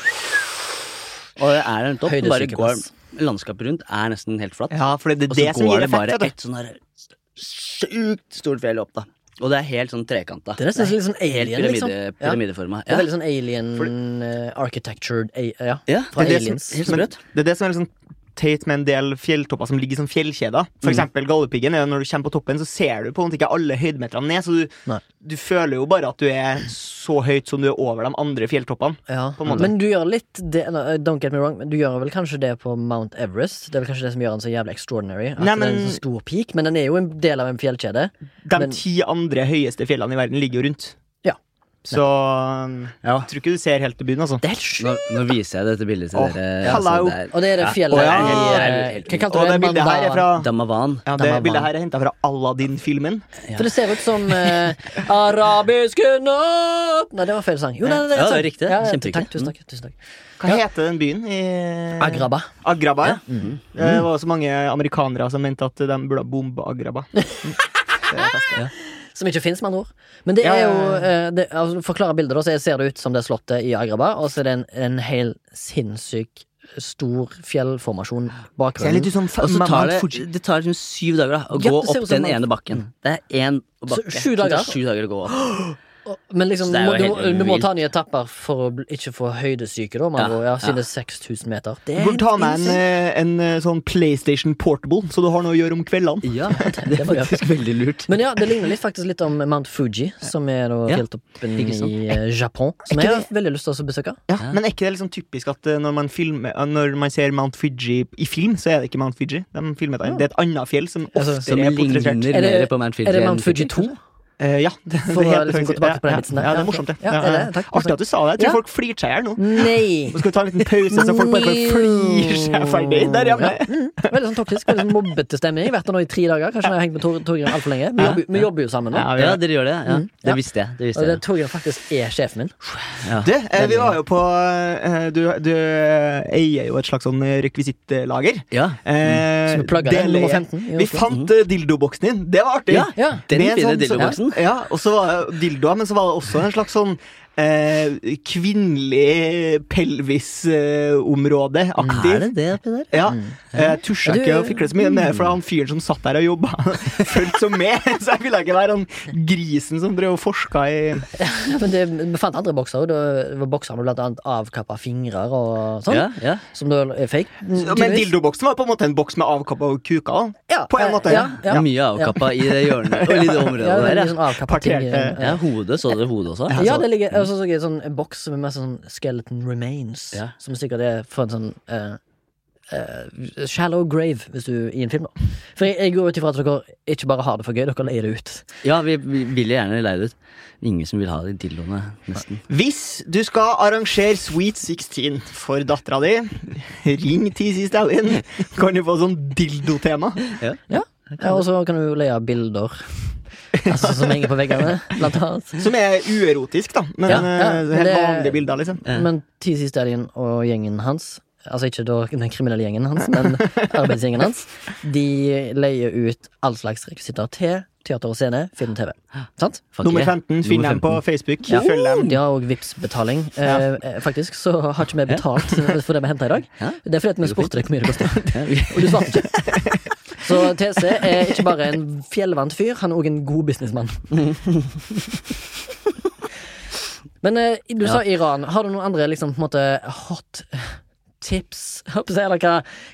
C: Og det er en topp som bare
A: Høydesyke,
C: går
A: ass.
C: Landskapet rundt er nesten helt flatt.
B: Ja, for det er
C: Og
B: det
C: så
B: som
C: går
B: gir
C: det
B: effekt.
C: bare
B: vet du.
C: et sånn her sjukt stort fjell opp, da. Og det er helt sånn trekanta.
A: Det er nesten litt sånn
C: Helt
A: alien, liksom.
C: pyramide,
A: Ja.
C: pyramideforma.
A: Det
C: Ja.
A: er veldig sånn alien eh, architectured a- Ja.
C: Ja,
A: Fra
B: det er det
A: aliens.
C: Helt
B: Men
C: sprøtt.
B: det er det som er liksom teit med en del fjelltopper som ligger som fjellkjeder. For eksempel Galdhøpiggen. er jo Når du kommer på toppen, så ser du på en måte ikke alle høydemeterne ned, så
A: Nei.
B: du, du føler jo bare at du er så høyt som du er over de andre fjelltoppene.
A: Ja.
B: på en måte.
A: Men du gjør litt det no, Don't get me wrong, men du gjør vel kanskje det på Mount Everest? Det er vel kanskje det som gjør den så jævlig extraordinary? At
B: Nei,
A: det er
B: men-
A: en så stor peak, men den er jo en del av en fjellkjede.
B: De
A: Men-
B: ti andre høyeste fjellene i verden ligger jo rundt.
A: Ja.
B: Så jeg
C: Ja.
B: tror ikke du ser helt til bunnen, altså.
A: Det er helt sjukt!
C: Nå, nå viser jeg dette bildet til
B: Åh,
C: dere. altså,
B: hello.
C: det er-
A: Og det er det fjellet
B: Å, ja.
A: i, eh,
C: Det er helt
A: Hva
B: Og
A: kalte du
B: det
A: det?
B: bildet her er
A: Mandala-
B: fra
C: Damavan.
B: ja, det
A: Damavan.
B: bildet her er henta fra Aladdin-filmen.
A: For det ser ut som eh, Arabiske natt Nei, det var feil sang. Jo, nei, nei, det er
C: Ja,
A: sant.
C: det er riktig.
A: Ja, ja,
C: Kjemperiktig.
A: Takk, tusen takk. Tusen takk.
B: Hva
A: Ja.
B: heter den byen? I...
A: Agraba.
B: Agraba, ja. Eh, Det var også mange amerikanere som mente at de burde bombe Agraba.
A: Som ikke fins, med andre ord. Men det
B: Ja,
A: er
B: ja,
A: jo
B: ja.
A: eh, det, altså, Forklare bildet, da. Så ser det ut som det slottet i Agraba, og så er det en, en hel sinnssyk stor fjellformasjon bak
B: Så jeg er litt
A: grunnen.
B: sånn fa-
C: Og så tar
B: Mount
C: det,
B: Fuji.
C: det tar liksom syv dager da å
A: Ja,
C: gå
A: det ser
C: opp
A: ut som
C: den
A: man-
C: ene bakken. Det er én bakke.
A: sju
C: som
A: dager?
C: tar sju dager å gå opp.
A: Og- Men liksom, du
C: Så det er jo
A: må, du,
C: helt
A: må- du må
C: vilt.
A: ta nye etapper for å bl- ikke få høydesyke, da. Man
C: Ja,
A: går, ja, siden
C: ja.
A: det er 6000 meter. Det
B: Du
A: er
B: burde ta med en,
A: insane.
B: eh, en eh, sånn PlayStation Portable, så du har noe å gjøre om kveldene.
C: Ja, det er faktisk veldig lurt.
A: Men ja, det ligner litt faktisk litt om Mount Fuji, som er da
C: Ja,
A: fjelltoppen
C: ikke sant.
A: i eh, Japan. Som
B: ikke
A: jeg har veldig lyst til å besøke.
B: Ja, men er ikke det liksom typisk at eh, når man, filmer, eh, når man ser Mount Fuji i film, så er det ikke Mount Fuji. De filmet den. Det er et annet fjell som
A: Altså,
B: oftere
C: Som
B: er portrettert.
C: ligner
A: Er det-
C: mer på Mount Fuji.
A: Er det
C: enn
A: Mount Fuji 2?
B: Eh, ja, det,
A: For å
B: det heter
A: liksom gå
B: faktisk-
A: tilbake på den
B: ja,
A: vitsen der.
B: Ja, det
A: Ja,
B: er morsomt, det.
A: ja, er det? Takk,
B: Artig at du sa det. Jeg tror
A: Ja.
B: folk flirer seg i hjel nå.
A: Nei!
B: Nå skal vi ta en liten pause, så folk bare kan flire seg ferdig der hjemme.
A: Ja, mm. Veldig sånn toksisk, veldig sånn mobbete stemning. Vært der nå i tre dager. Kanskje jeg har hengt med Tor- Torgrim alt altfor lenge. Vi jobber, vi jobber jo sammen nå.
B: Ja, vi
C: Ja,
B: gjør det.
C: dere gjør det. Ja.
A: Mm. Ja.
C: Det visste jeg. Det
A: Og
C: visste
A: det
C: jeg.
A: Torgrim faktisk er sjefen min.
B: Du, eh, vi var jo på eh, Du, du eh, eier jo et slags sånn rekvisittlager.
C: Ja.
B: Eh,
A: Mm. Som plagger
B: det
A: deg, nummer
B: leier-
A: 15 i
B: Vi
A: Oslo.
B: fant eh, dildoboksen din. Det var artig.
C: Ja,
A: Ja.
C: Den
B: Med
C: fine
B: sånn-
C: dilloboksen.
B: Ja, og så var det dildoa, men så var det også en slags sånn eh, kvinnelig pelvisområde-aktig.
A: Mm.
C: Er det det oppi der?
B: Ja. Eh, Jeg
A: Ja,
B: tusja
A: du-
B: ikke å fikle så mye med, for han fyren som satt der og jobba, fulgte så med. Så jeg ville ikke være han grisen som drev og forska i
A: Men det, vi fant andre bokser, og det var bokser med blant annet avkappa fingrer og sånn.
C: Ja, ja.
A: Som da er fake.
B: Men dildoboksen var på en måte en boks med avkappa og kuka.
A: Ja,
B: da. På
A: eh,
B: en måte.
A: ja, ja.
C: Mye avkappa i det hjørnet og i det området
A: Ja,
C: der.
A: veldig
C: Ja.
A: sånn avkappa ting.
B: Parterte-
A: eh,
C: Ja, hodet. Så dere hodet også?
A: Ja, det ligger Og så så jeg en sånn boks med masse sånn skeleton remains,
C: Ja.
A: som sikkert er for en sånn eh, eh, Shallow grave, hvis du i en film, da. For jeg, jeg går ut ifra at dere ikke bare har det for gøy, dere leier det ut.
C: Ja, vi, vi ville gjerne leid ut. Ingen som vil ha de dildoene, nesten.
B: Hvis du skal arrangere Sweet 16 for dattera di, ring TC Stalin. Kan du få sånn dildotema?
C: Ja.
A: Ja. ja og så kan du leie bilder altså, som henger på veggene, blant annet.
B: Som er uerotisk, da. Men
A: Ja, ja,
B: eh,
A: men
B: helt
A: det-
B: vanlige bilder, liksom.
C: Eh,
A: Men TC Stallion og gjengen hans Altså ikke da den kriminelle gjengen hans, men arbeidsgjengen hans. De leier ut all slags rekvisitter til teater og scene, film og TV. Sant?
C: Fuck
B: Nummer
C: yeah.
B: 15 finner dem på Facebook. Følg dem.
A: Oh, De har òg Vipps-betaling. Eh, eh, faktisk så har ikke vi betalt for det vi henta i dag.
C: Ja.
A: Det er fordi at vi spurte deg hvor mye det kosta,
C: Ja, vi-
A: og du svarte ikke. Så TC er ikke bare en fjellvant fyr, han er òg en god businessmann. Men eh, du sa Iran. Har du noen andre liksom, på en måte, hot tips? Håper jeg, Eller hva,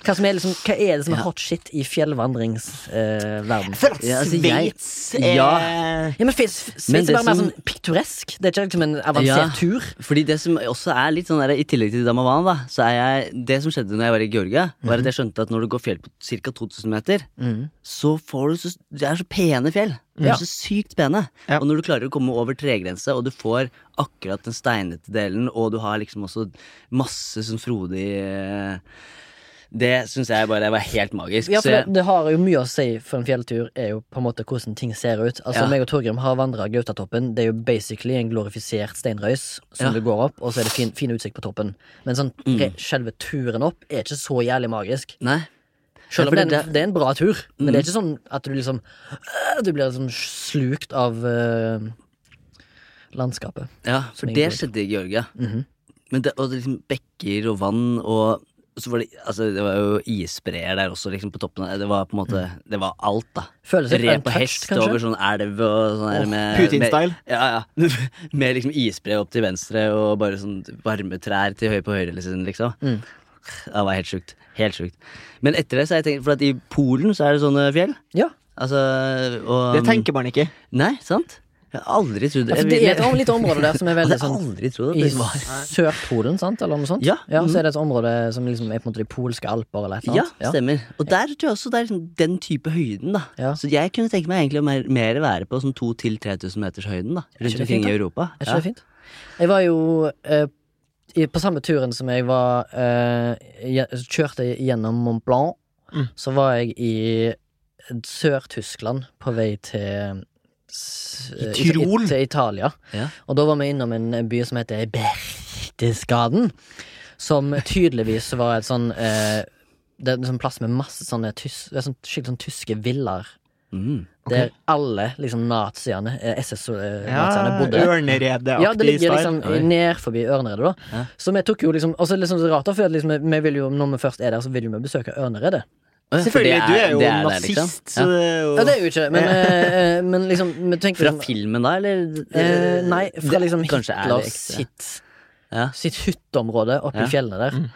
A: hva, som er, liksom, hva er det som er hot shit i fjellvandringsverden?
B: For at
C: Ja, altså, jeg-
B: Sveits
C: Ja.
B: er
A: ja, men Sveits
C: Men
A: Sveits
C: det
A: er bare mer
C: som-
A: sånn piktoresk. Det er ikke liksom en avansert tur.
C: Fordi det som også er litt sånn der, I tillegg til Damavan, da, så er jeg Det som skjedde når jeg var i Georgia,
A: Mhm.
C: var at jeg skjønte at når du går fjell på ca. 2000 meter, så får du så Det er så pene fjell. De
A: Ja.
C: er så sykt pene.
B: Ja.
C: Og når du klarer å komme over tregrense, og du får akkurat den steinete delen, og du har liksom også masse sånn frodig eh, Det syns jeg bare var helt magisk.
A: Ja,
C: så
A: for det,
C: jeg,
A: det har jo mye å si for en fjelltur, er jo på en måte hvordan ting ser ut. Altså,
C: Ja.
A: meg og Torgrim har vandra Gautatoppen. Det er jo basically en glorifisert steinrøys som
C: Ja. Mm.
A: du går opp, og så er det fin, fin utsikt på toppen. Men sånn, re, selve turen opp er ikke så jævlig magisk.
C: nei.
A: Selv om
C: Ja,
A: det,
C: for
A: er en- det er en bra tur, men
C: Mm.
A: det er ikke sånn at du liksom øh, Du blir liksom slukt av øh, landskapet.
C: Ja, for
A: Som Mhm.
C: det
A: inngår.
C: skjedde i Georgia. Men det, og det liksom bekker og vann og så var det, altså, det var jo isbreer der også, liksom, på toppen. Det var på en måte Det var alt, da.
A: Mm. Føles litt
C: Re på
A: untouched,
C: hest
A: kanskje?
C: over sånn elv og sånn der
B: Åh,
C: med
B: Putin-style.
C: med- Ja, ja. med liksom isbre opp til venstre og bare sånn varme trær til høyre på høyre, liksom. liksom.
A: Mm.
C: Det var helt sjukt. Helt sjukt. Men etter det så har jeg tenkt For at i Polen så er det sånne fjell.
A: Ja.
C: Altså og
B: Det tenker man ikke.
C: Nei, sant? Jeg har aldri trodd
A: Ja, for det er et om- litt område der som er veldig
C: Jeg hadde
A: sånn
C: aldri trodd at
A: I
C: det var
A: Sørpolen, sant? Eller noe sånt?
C: Ja. mm,
A: Så er det et område som liksom er på en måte de polske alper eller et eller
C: Ja,
A: annet?
C: stemmer. Og der tror jeg også det er liksom den type høyden, da.
A: Ja.
C: Så jeg kunne tenke meg egentlig å mer, mer være på sånn 2000-3000 meters høyden, da.
A: ikke
C: Rundt
A: det
C: omkring
A: fint,
C: i
A: da?
C: Europa.
A: Er ikke det fint? Jeg var jo eh, i, på samme turen som jeg var eh, gje- Kjørte gjennom Mont Blanc.
B: Mm.
A: Så var jeg i Sør-Tyskland på vei til s-
B: I
A: eh,
B: Tyrol?
A: Ita- Til Italia.
C: Ja.
A: Og da var vi innom en by som heter Berchtesgaden. Som tydeligvis var et sånn eh, Det er en sånn plass med masse sånne tys, det er sånn, skikkelig sånn tyske villaer.
C: Mm.
A: Der alle liksom naziene, SS-naziene,
B: Ja,
A: eh, bodde. Ja, det
B: Ørneredeaktig
A: ligger
B: style.
A: liksom
C: Oi.
A: ned forbi Ørneredet, da.
C: Ja.
A: Så vi tok jo liksom Og så er det liksom så rart, da, for at liksom, vi vil jo, når vi først er der, så vil jo vi besøke Ørneredet.
C: Å ja, for
B: Selvfølgelig,
C: det
B: du er jo
C: det der,
B: nazist,
C: liksom.
B: så det er jo
A: Ja, det er jo ikke det, men, eh, eh, men liksom vi tenker
C: Fra
A: liksom,
C: filmen, da, eller?
A: eh, Nei, fra
C: Det-
A: liksom
C: kanskje er det
A: Hitler
C: ekte.
A: sitt,
C: Ja.
A: sitt hytteområde oppe
C: Ja. Mm.
A: i fjellene der.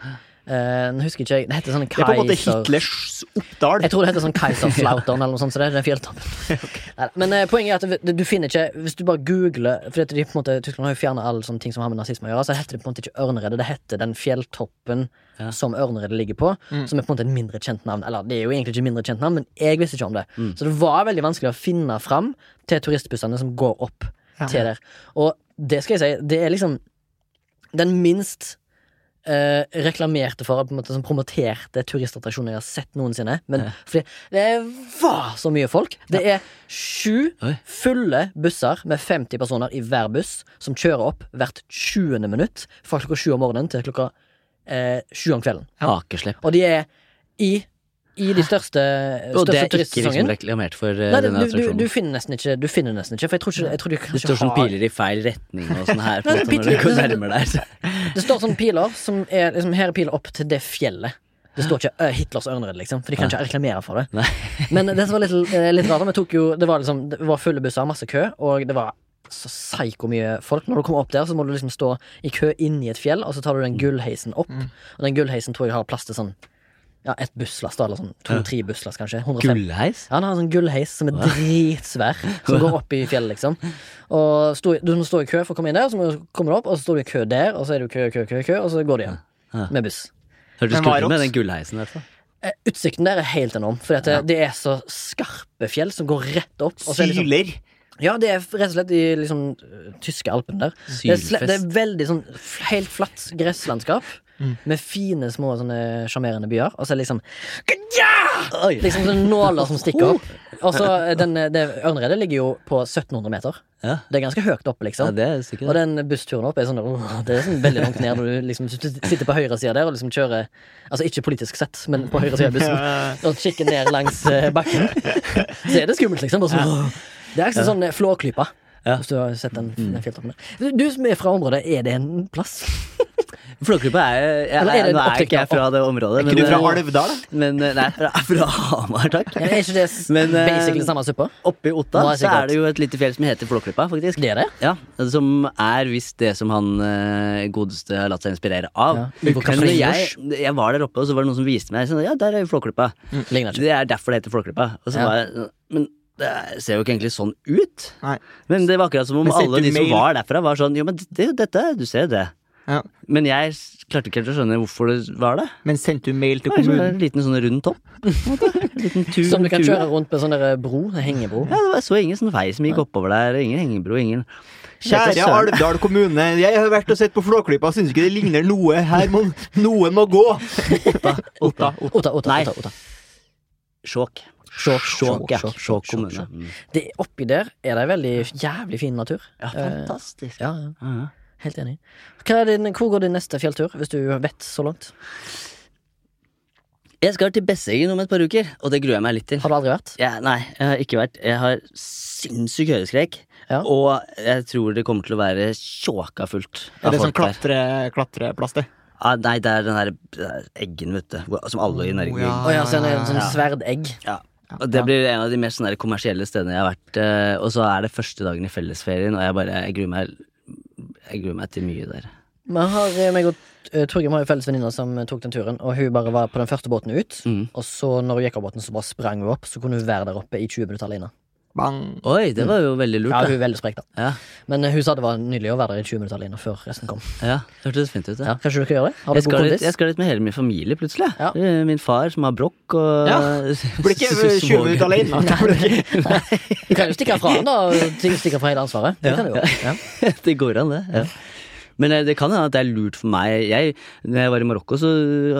A: Eh, Nå husker ikke jeg Det heter sånn
B: Det er på en måte
A: Kaiser...
B: Hitlers Oppdal.
A: Jeg tror det heter sånn Kaiserslautern eller noe sånt. Så det er den fjelltoppen. Neida, Men eh, poenget er at det- du finner ikke Hvis du bare googler For de, på en måte, Tyskland har jo fjernet alle sånne ting som har med nazisme å gjøre. Så heter det på en måte ikke Ørneredet. Det heter den fjelltoppen
C: Ja.
A: som Ørneredet ligger på. Som er på en måte et mindre kjent navn. Eller det er jo egentlig ikke et mindre kjent navn, men jeg visste ikke om det. Så det var veldig vanskelig å finne fram til turistbussene som går opp
B: Ja.
A: til der. Og det skal jeg si, det er liksom den minst eh, reklamerte for, på en måte som promoterte turistattraksjonen jeg har sett noensinne. Men
C: Ja.
A: fordi det var så mye folk. Det er sju
C: Oi.
A: fulle busser med 50 personer i hver buss, som kjører opp hvert 20. minutt fra klokka sju om morgenen til klokka eh, sju om kvelden.
C: Hakeslepp.
A: Og de er i, i de største,
C: Og
A: største
C: det er ikke liksom
A: turistsesongen.
C: reklamert for eh,
A: Nei, det-
C: denne
A: du, du,
C: attraksjonen.
A: du finner nesten ikke Du finner nesten ikke For jeg tror ikke, jeg tror de
C: det
A: kanskje
C: står sånn
A: har-
C: piler i feil retning og sånn her. på
A: Nei, det er
C: en måte, når
A: bitte-
C: du går
A: det er-
C: nærmere der. så-
A: Det står sånne piler som er liksom, Her er pil opp til det fjellet. Det står ikke ø, Hitlers ørnered, liksom, for de kan ikke reklamere for det.
C: Nei.
A: Men det som var litt, eh, litt rart, da, vi tok jo, det var liksom Det var fulle busser, masse kø, og det var så psyko mye folk. Når du kommer opp der, så må du liksom stå i kø inni et fjell, og så tar du den gullheisen opp.
C: Mm.
A: Og den gullheisen tror jeg har plass til sånn Ja, et busslass, da, eller sånn to-tre busslass, kanskje. 150
C: Gullheis?
A: han har en sånn gullheis som er dritsvær, som går opp i fjellet, liksom. Og sto, du må stå i kø for å komme inn der, så må du komme deg opp, og så står du i kø der, og så er du i kø, kø, kø, kø, og så går du hjem.
C: Ja.
A: Med buss.
C: Hørtes
B: Men
C: kult ut
B: Marots?
C: med den gullheisen, i hvert fall.
A: Eh, Utsikten der er helt enorm, for det, det er så skarpe fjell som går rett opp. Og så er det liksom,
B: Syler.
A: ja, det er rett og slett i liksom eh, tyske alpen der. Det er, sle-
C: Sylfest. Mm.
A: det er veldig sånn f- helt flatt gresslandskap. Med fine, små sånne sjarmerende byer. Og så er det liksom
C: Oi.
A: Liksom sånne nåler som stikker opp.
C: Oh.
A: Og så eh, den, eh, det Ørneredet ligger jo på 1700 meter.
C: Ja.
A: Det er ganske høyt oppe, liksom.
C: Ja, det er sikkert.
A: Og den bussturen opp er sånn åh, Det er sånn veldig langt ned når du liksom sitter på høyre sida der og liksom kjører Altså ikke politisk sett, men på høyre sida av bussen
B: Ja.
A: og kikker ned langs eh, bakken. Så er det skummelt, liksom. Og så, det er ikke sånn eh, Flåklypa.
C: Ja. Mm.
A: Hvis du har sett den, den fjelltoppen der. Du som er fra området, er det en plass?
C: Flåklypa er jeg, jeg,
A: Eller er det en
C: Nå er
A: opptrykk
C: ikke jeg
A: av-
C: fra det området.
B: Er ikke du fra
C: eh,
B: Alvdal? da?
C: Men eh, nei, fra, fra Hamar, takk.
A: Er ikke det s-
C: Men, eh,
A: basically samme suppa?
C: Oppe i Otta
A: Nå er jeg
C: så
A: sikkert.
C: er det jo et lite fjell som heter Flåklypa, faktisk.
A: Det er det?
C: Ja, Som er visst det som han eh, godeste har latt seg inspirere av.
A: Ja.
C: Men
A: Ivo
C: når jeg,
A: Caprinos.
C: jeg var der oppe, og så var det noen som viste meg sånn, Ja, der er jo Flåklypa.
A: Ligner ikke.
C: Det er derfor det heter Flåklypa. Og
A: Mm.
C: så
A: Ja.
C: var jeg sånn, Men det ser jo ikke egentlig sånn ut.
B: Nei.
C: Men det var akkurat som om
B: Men sendte
C: alle
B: du
C: de som
B: mail?
C: var derfra, var sånn Jo, men det er jo dette. Du ser jo det.
B: Ja.
C: Men jeg s- klarte ikke helt å skjønne hvorfor det var det.
B: Men sendte du mail til
C: Det var liksom
B: kommunen?
C: en liten sånn rund topp. på en måte. En liten tur,
A: Som du kan
C: tur.
A: kjøre rundt med sånn der bro? Hengebro?
C: Ja, det var så ingen sånn vei som gikk oppover der. Ingen hengebro, ingen
B: Kjære
C: Kjære søren.
B: Alvdal kommune, jeg har vært og sett på Flåklypa og syns ikke det ligner noe. Her må noen må gå. Otta. Otta.
A: Otta, Otta,
C: Nei.
A: Otta. Otta.
C: Skjåk.
A: Sjåk,
C: Skjåk, ja.
A: sjåk, sjåk,
C: Skjåk
A: sjåk,
C: kommune. Mm.
A: sjåk. Det, oppi der er det veldig jævlig fin natur.
C: Ja, fantastisk.
A: Ja, ja,
C: Ja, ja.
A: helt enig. Hva er din, hvor går din neste fjelltur, hvis du vet så langt?
C: Jeg skal til Besseggen om et par uker, og det gruer jeg meg litt til.
A: Har du aldri vært?
C: Ja, nei, jeg har ikke vært Jeg har sinnssyk høydeskrekk.
A: Ja.
C: Og jeg tror det kommer til å være tjåka fullt
B: Er
C: av
B: det sånn
C: folk der.
B: klatre, klatreplass, det?
C: Ah, nei, det er den der eh, eggen, vet du. hvor- Som alle i Norge
B: ja.
A: Å ja, så er det en sånn
C: Ja.
A: sverdegg.
C: Ja. Og det blir en av de mest sånne der kommersielle stedene jeg har vært. eh, Og så er det første dagen i fellesferien, og jeg bare jeg gruer meg, jeg gruer meg til mye der.
A: Vi har, eh, meg og eh, Torgrim har jo felles venninner som eh, tok den turen, og hun bare var på den første båten ut.
C: Mm.
A: Og så når hun gikk av båten, så bare sprang hun opp, så kunne hun være der oppe i 20 minutter alene.
B: Bang.
C: Oi, det var jo veldig
A: Ja,
C: lurt,
A: hun
C: da.
A: er veldig sprek, da.
C: Mm. Ja,
A: Men eh, hun sa det var nydelig å være der i 20 minutter alene før resten kom.
C: ja det hørtes fint ut. det.
A: Ja, kanskje du kan gjøre det? Har
C: Jeg
A: du god
C: skal, litt,
A: kondis?
C: jeg skal litt med hele min familie, plutselig.
A: Ja.
C: Eh, Min far som har brokk, og
B: Ja, Blir ikke 20
C: små-
B: minutter alene. Blir ikke-
A: Du kan jo stikke fra han, da. og ting Stikke fra hele ansvaret. Det
C: Ja.
A: kan du jo. Ja.
C: det går an, det. Ja. Men eh, det kan hende at det er lurt for meg. Jeg, når jeg var i Marokko, så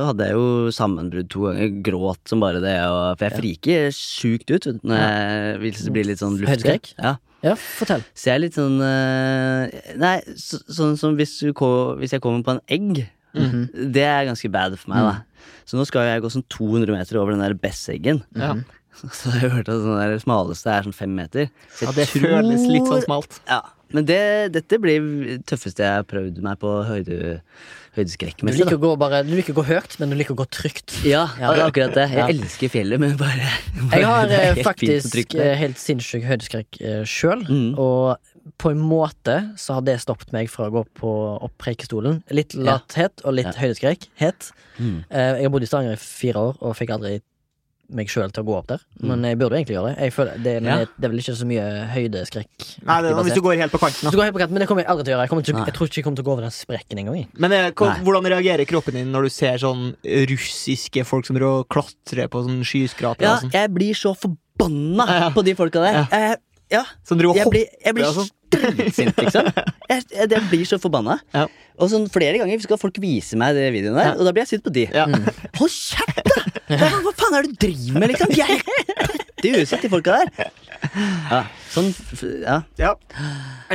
C: hadde jeg jo sammenbrudd to ganger. Gråt som bare det. Og, for jeg friker sjukt ut vet du, når jeg vil bli litt sånn luftskrekk.
A: Høydeskrekk?
C: Ja.
A: ja, fortell.
C: Så jeg er litt sånn eh, Nei, så, sånn som hvis, du, ko- hvis jeg kommer på en egg.
B: Mhm.
C: Det er ganske bad for meg,
B: Mm.
C: da. Så nå skal jeg gå sånn 200 meter over den der Bess-eggen.
B: Ja.
C: Så har jeg hørt at den der smaleste er sånn fem meter. Så
B: Ja,
C: jeg
B: det føles litt sånn smalt.
C: ja, men det, dette blir det tøffeste jeg har prøvd meg på høyde,
A: Du
C: høydeskrekkmessig.
A: liker,
C: da.
A: å gå bare, du liker å gå høyt, men du liker å gå trygt.
C: Ja,
A: Ja.
C: det er akkurat det. Jeg
A: Ja.
C: elsker fjellet, men bare, bare
A: Jeg har
C: det er
A: eh,
C: helt fint å
A: faktisk
C: trykke der.
A: eh, helt sinnssyk høydeskrekk eh, sjøl,
C: Mm.
A: og på en måte så har det stoppet meg fra å gå på opp Preikestolen. Litt lathet og litt
C: Ja.
A: høydeskrekk. Het.
C: Mm.
A: Eh, jeg har bodd i Stavanger i fire år og fikk aldri meg sjøl til å gå opp der, men jeg burde jo egentlig gjøre det. Jeg føler, det, men
C: Ja.
A: det, det er vel ikke så mye høydeskrekk.
B: Nei, det, er hvis du går helt på kanten.
A: Så
B: da.
A: går jeg helt på kanten, men det kommer jeg aldri til å gjøre. Jeg, kommer til,
C: Nei.
A: jeg tror ikke jeg kommer til å gå over den sprekken engang. jeg.
B: Men eh, hva,
C: Nei.
B: hvordan reagerer kroppen din når du ser sånn russiske folk som driver og klatrer på sånn skyskrapere?
C: Ja,
B: og sånn?
C: jeg blir så forbanna
B: Ja, ja.
C: på de folka der. Jeg, ja, altså.
B: Som driver og
C: jeg
B: hopper
C: blir, jeg blir
B: og sånn.
C: dritsint, liksom. Jeg, jeg, jeg blir så forbanna.
B: Ja.
C: Og sånn flere ganger skal folk vise meg de videoene der,
B: Ja.
C: og da blir jeg sint på de.
B: Ja.
C: Hold kjeft, da! Hva, hva faen er det du driver med, liksom? De er helt pøtte i huset, de folka der. Ja, sånn f- f- Ja.
B: ja.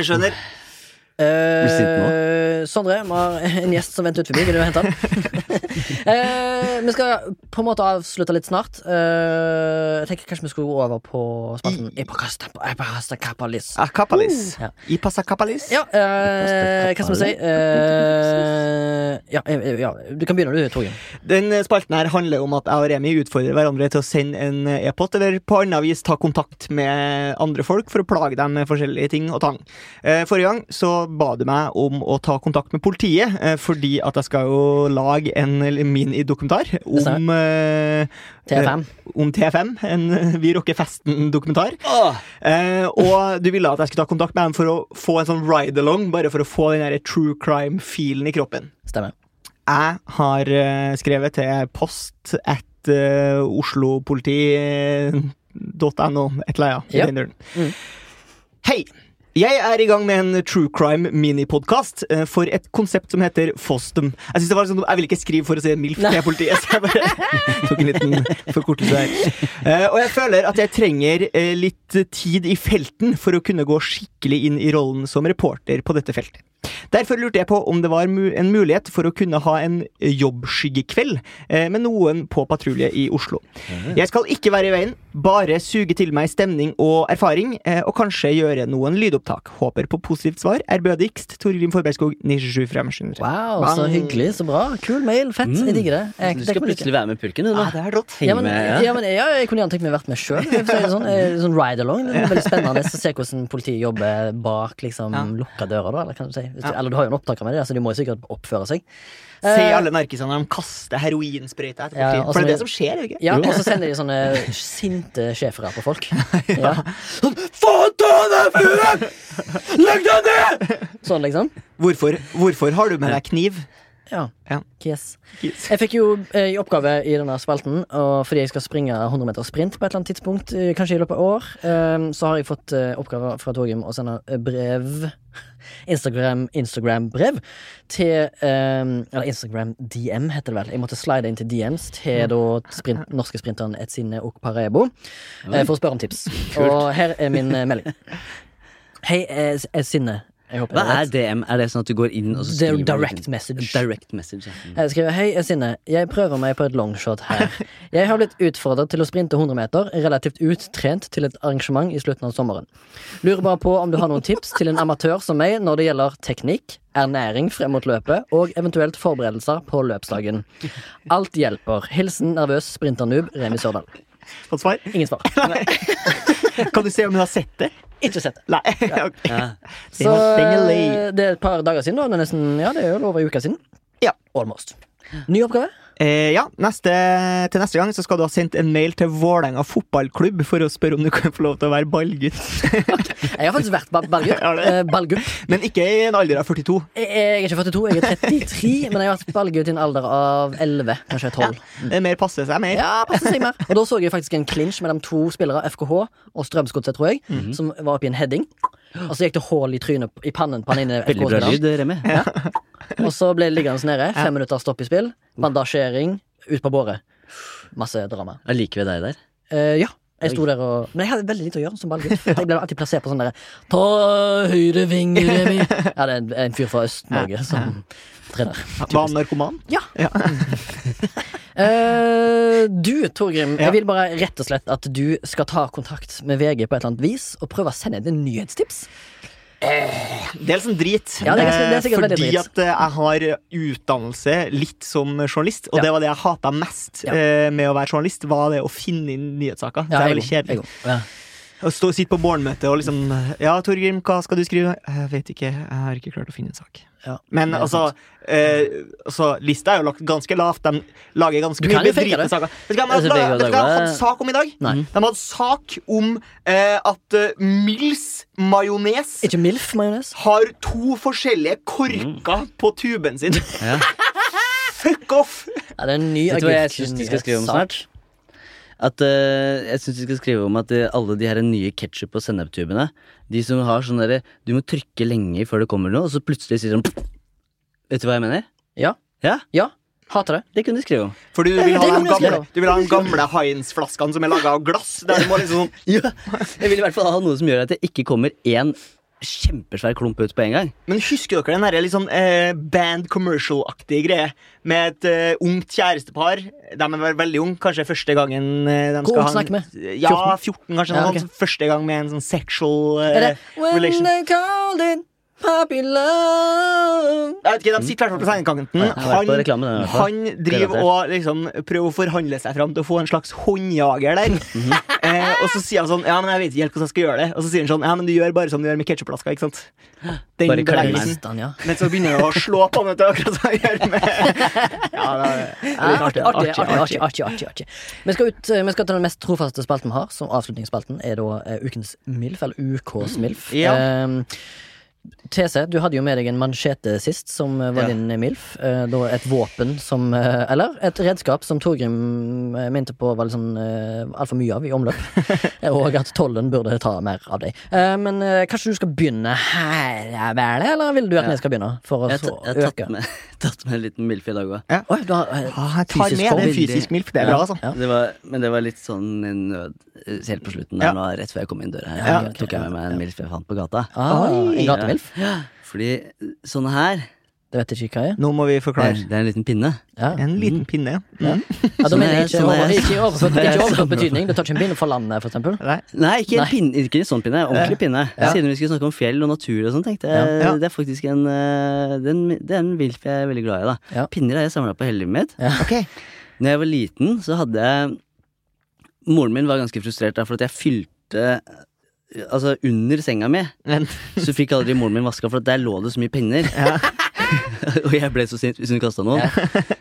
B: Jeg skjønner.
C: du sint
A: Eh, Sondre, vi har en gjest som venter ut forbi. Vil du hente han? eh, vi skal på en måte avslutte litt snart. Eh, jeg tenker kanskje vi skulle gå over på spalten Ipakasta- Ipakasta Kapalis.
B: Ah, Akapalis.
C: Uh.
A: Ja.
B: Ipasakapalis.
A: Ja, eh, hva skal vi si? Eh, ja, eh, ja, du kan begynne, du, Torgrim.
B: Den eh, spalten her handler om at jeg og Remi utfordrer hverandre til å sende en eh, e-post, eller på annet vis ta kontakt med andre folk for å plage dem med forskjellige ting og tang. Eh, Forrige gang så ba du meg om å ta kontakt med politiet, eh, fordi at jeg skal jo lage en minidokumentar om, eh,
A: TFM.
B: eh, om TFM. En eh, Vi rocker festen-dokumentar.
C: Åh,
B: Eh, og du ville at jeg skulle ta kontakt med dem for å få en sånn ride-along, bare for å få den der true crime-feelen i kroppen.
A: Stemmer.
B: Jeg har eh, skrevet til post at eh, oslopoliti.no, et eller annet. i
A: Ja.
B: den duren.
A: Mm.
B: Hei! Jeg er i gang med en true crime minipodkast eh, for et konsept som heter Fostum. Jeg synes det var sånn, jeg vil ikke skrive for å si MILF til politiet, så jeg bare tok en liten forkortelse her. Eh, og jeg føler at jeg trenger eh, litt tid i felten for å kunne gå skikkelig inn i rollen som reporter på dette feltet. Derfor lurte jeg på om det var mu en mulighet for å kunne ha en eh, jobbskyggekveld eh, med noen på patrulje i Oslo. Jeg skal ikke være i veien, bare suge til meg stemning og erfaring, eh, og kanskje gjøre noen lydopptak. Håper på positivt svar. Ærbødigst Torgrim Forbergskog, 97 fra Maskineriet.
A: Wow, så
B: Bang.
A: hyggelig. Så bra. Kul mail. Fett. Jeg digger det. Jeg,
C: Mm. du
A: det kan
C: skal
A: vi like.
C: plutselig være med i purken, du nå.
B: Ah, det er rått.
C: Henge
A: Ja, men,
C: med,
A: ja. men ja, jeg kunne gjerne tenkt meg å vært med sjøl. Sånn, eh, sånn ride-along. Det er veldig spennende å se hvordan politiet jobber bak liksom,
B: Ja.
A: lukka dører. Da, eller, kan du si. Hvis du,
B: Ja.
A: eller du har jo en opptaker med det, så de må jo sikkert oppføre seg.
B: Se
A: Eh,
B: alle narkisene når de kaster heroinsprøyta etter
A: Ja, altså,
B: politiet.
A: og
B: For
A: så-
B: det er det som skjer, er det ikke?
A: ja, og så sender de sånne sinte schæfere på folk. Ja.
C: Faen ta deg, frue! Legg deg ned!
A: Sånn, liksom.
B: Hvorfor, hvorfor har du med deg kniv?
A: Ja.
B: Ja.
A: Yes.
B: Yes.
A: Jeg fikk jo eh, i oppgave i denne spalten, og fordi jeg skal springe 100 meter sprint på et eller annet tidspunkt, eh, kanskje i løpet av år, eh, så har jeg fått eh, oppgave fra Torgrim å sende eh, brev Instagram, Instagram-brev til eh, Eller Instagram-DM, heter det vel. Jeg måtte slide inn til DMs til da sprint, norske sprinteren Etsine Okparebo eh, for å spørre om tips. Og her er min eh, melding. Hei, eh, Etsine. Jeg håper
C: Hva
A: det er
C: er
A: rett.
C: DM? Er det sånn at du går inn og så
A: Det er jo
C: skriver du
A: direct
C: ting?
A: message.
C: Direct message ja. Mm.
A: Jeg skriver Hei, jeg er Sinne. Jeg prøver meg på et longshot her. Jeg har blitt utfordret til å sprinte 100 meter, relativt uttrent til et arrangement i slutten av sommeren. Lurer bare på om du har noen tips til en amatør som meg når det gjelder teknikk, ernæring frem mot løpet og eventuelt forberedelser på løpsdagen. Alt hjelper. Hilsen nervøs sprinternoob Remi Sørdal.
B: Fått svar?
A: Ingen svar.
B: Kan du se om hun har sett det?
A: Ikke sett det.
B: Nei. ok.
C: Ja.
B: Den
A: Så
B: er- den er lei.
A: eh, det er et par dager siden, da. Det er nesten, ja, det er jo over en uke siden.
B: Ja.
A: Almost. Ny oppgave?
B: Eh, ja, neste, til neste gang så skal du ha sendt en mail til Vålerenga fotballklubb for å spørre om du kan få lov til å være ballgutt.
A: Jeg har faktisk vært ba- ballgutt.
B: Har du?
A: Eh, ballgutt.
B: Men ikke i en alder av 42.
A: Jeg jeg er ikke 42, jeg er 33, men jeg har vært ballgutt i en alder av 11, kanskje 12.
B: Det er mer passe seg mer.
A: Ja, passer seg mer. Og da så jeg faktisk en clinch mellom to spillere, FKH og Strømsgodset, tror jeg, som var oppi en heading. Og så gikk det hull i trynet i pannen på han ene
C: Veldig bra
A: FK-spilleren.
C: lyd, Remi.
A: Og så ble det liggende nede. Fem minutter stopp i spill. Bandasjering. Ut på båret. Masse drama.
C: Da liker vi deg der.
A: Eh, ja. Jeg sto der og Men jeg hadde veldig lite å gjøre som ballgutt. for Jeg ble alltid plassert på sånn derre Ta høyre ving, Remi. Ja, det er en, en fyr fra Øst-Norge som trener.
B: Var han narkoman?
A: Ja. Eh, du, Torgrim,
B: Ja.
A: jeg vil bare rett og slett at du skal ta kontakt med VG på et eller annet vis og prøve å sende inn nyhetstips.
B: Det er liksom drit.
A: Ja, det er ganske- det er sikkert
B: Eh,
A: veldig
B: Fordi
A: drit.
B: at eh, jeg har utdannelse litt som journalist, og
A: Ja.
B: det var det jeg hata mest
A: Ja.
B: eh, med å være journalist, var det å finne inn nyhetssaker.
A: Ja,
B: det er
A: jeg
B: veldig
A: går, jeg
B: kjedelig.
A: går. Ja.
B: Å stå og sitte på morgenmøte og liksom Ja, Torgrim, hva skal du skrive? Jeg vet ikke. Jeg har ikke klart å finne en sak.
A: Ja.
B: Men
A: det er
B: altså, eh, altså Lista er jo lagt ganske lavt. De lager ganske
A: Du kan
B: mye
A: jo fake
B: bedritne
A: det.
B: saker. Vet du hva de
C: Altså,
B: hadde laget-
C: VG
B: vet
C: og
B: du hva de hadde
C: Dagbladet-
B: hatt sak om i dag?
A: Nei.
B: De hadde sak om eh, at eh, Mills majones
A: Ikke MILF majones?
B: har to forskjellige korker på tuben sin.
C: Ja.
B: Fuck off!
A: Ja, det er en ny
C: Vet du hva jeg syns de skal skrive om
A: agurknyhetssak.
C: snart? At eh, jeg synes de skal skrive om at eh, alle de her nye ketsjup- og senneptubene De som har sånn derre Du må trykke lenge før det kommer noe, og så plutselig sier de sånn Vet du hva jeg mener?
A: Ja.
C: Ja,
A: Ja. Hater det.
C: Det kunne de skrive om.
B: For du
A: det
B: vil ha
A: kan
B: de
A: jeg skrive
B: gamle,
A: om.
B: du vil ha de gamle Heinz-flaskene som er laga av glass. Der du må liksom sånn
C: Ja, Jeg vil i hvert fall ha noe som gjør at det ikke kommer én kjempesvær klump ut på en gang.
B: Men husker dere den der litt sånn eh, band commercial-aktige greie med et eh, ungt kjærestepar? De er vel veldig unge, kanskje første gangen eh, de
A: Hvor
B: skal
A: ung
B: ha
A: snakker vi?
B: Ja, 14 kanskje.
A: Ja,
B: noe
A: ok.
B: sånt. Første gang med en sånn sexual eh,
A: Er det When
B: relation.
A: they called it puppy love
B: Jeg vet ikke, De sitter i hvert fall på sengekanten.
C: Mm. jeg har vært på reklame, den i hvert fall.
B: han driver
C: Garantert.
B: og liksom prøver å forhandle seg fram til å få en slags håndjager der.
C: Mhm.
B: eh, og så sier han sånn Ja, men jeg vet ikke helt hvordan jeg skal gjøre det. Og så sier han sånn Ja, men du gjør bare som du gjør med ketchupflaska, ikke sant? Den
C: Bare klemmer
B: bevegelsen.
A: Mest han, ja.
B: Men så begynner han å slå på den, vet du, akkurat som han gjør med Ja, det er
A: Ja, Artig,
B: artig,
A: artig, artig, artig, artig, artig. Vi skal, ut, eh, vi skal til den mest trofaste spalten vi har, som avslutningsspalten er da eh, ukens MILF, eller UKs MILF.
B: Ja.
A: Ehm, TC, du hadde jo med deg en mansjete sist, som eh, var
B: Ja.
A: din eh, MILF. Eh, da et våpen som eh, Eller et redskap som Torgrim eh, mente på var litt sånn eh, altfor mye av i omløp. Eh, Og at tollen burde ta mer av deg. Eh, men eh, kanskje du skal begynne her, er vel, eller vil du at vi skal begynne? For å
C: Jeg,
A: så
C: har ta- jeg har
A: øke.
C: tatt med, tatt med en liten milf i dag òg.
A: Oi, du har, eh,
B: Ah, jeg
A: fysisk
B: tar med det
A: form.
B: er fysisk milf. Det er bra, altså.
A: Ja.
C: Det var, men det var litt sånn i nød eh, helt på slutten.
B: Ja.
C: Der, nå, rett før jeg kom inn døra her,
A: Ja, ok,
C: tok jeg med meg en milf jeg fant på gata.
A: Ah,
B: Oi.
A: en gatemilf?
C: Fordi sånne her
A: Det vet jeg ikke hva jeg er.
B: Nå må vi
C: det
B: forklare.
C: er en liten pinne.
A: Ja.
B: En liten pinne.
A: Ja.
B: Mm.
A: Ja, da
C: Sånn
A: mener
C: er-
A: jeg ikke
C: sånn
A: over-
C: er-
A: ikke overført
C: sånn er-
A: ikke overført
C: sånn er-
A: betydning. Du tar ikke en pinne for landet, for eksempel.
B: Nei.
C: Nei, ikke en
A: Nei.
C: pinne, ikke en sånn pinne. Ordentlig pinne.
A: Ja.
C: Siden vi skulle snakke om fjell og natur og sånn, tenkte jeg
B: Ja. Ja.
C: det er faktisk en eh, Det er en, det er en vilf jeg er veldig glad i. da
A: Ja.
C: Pinner har jeg samla på hele livet mitt.
B: Ok.
C: Når jeg var liten, så hadde jeg Moren min var ganske frustrert da, for at jeg fylte Altså, under senga mi
B: Men
C: så fikk aldri moren min vaska, for at der lå det så mye pinner. og jeg ble så sint hvis hun kasta noen.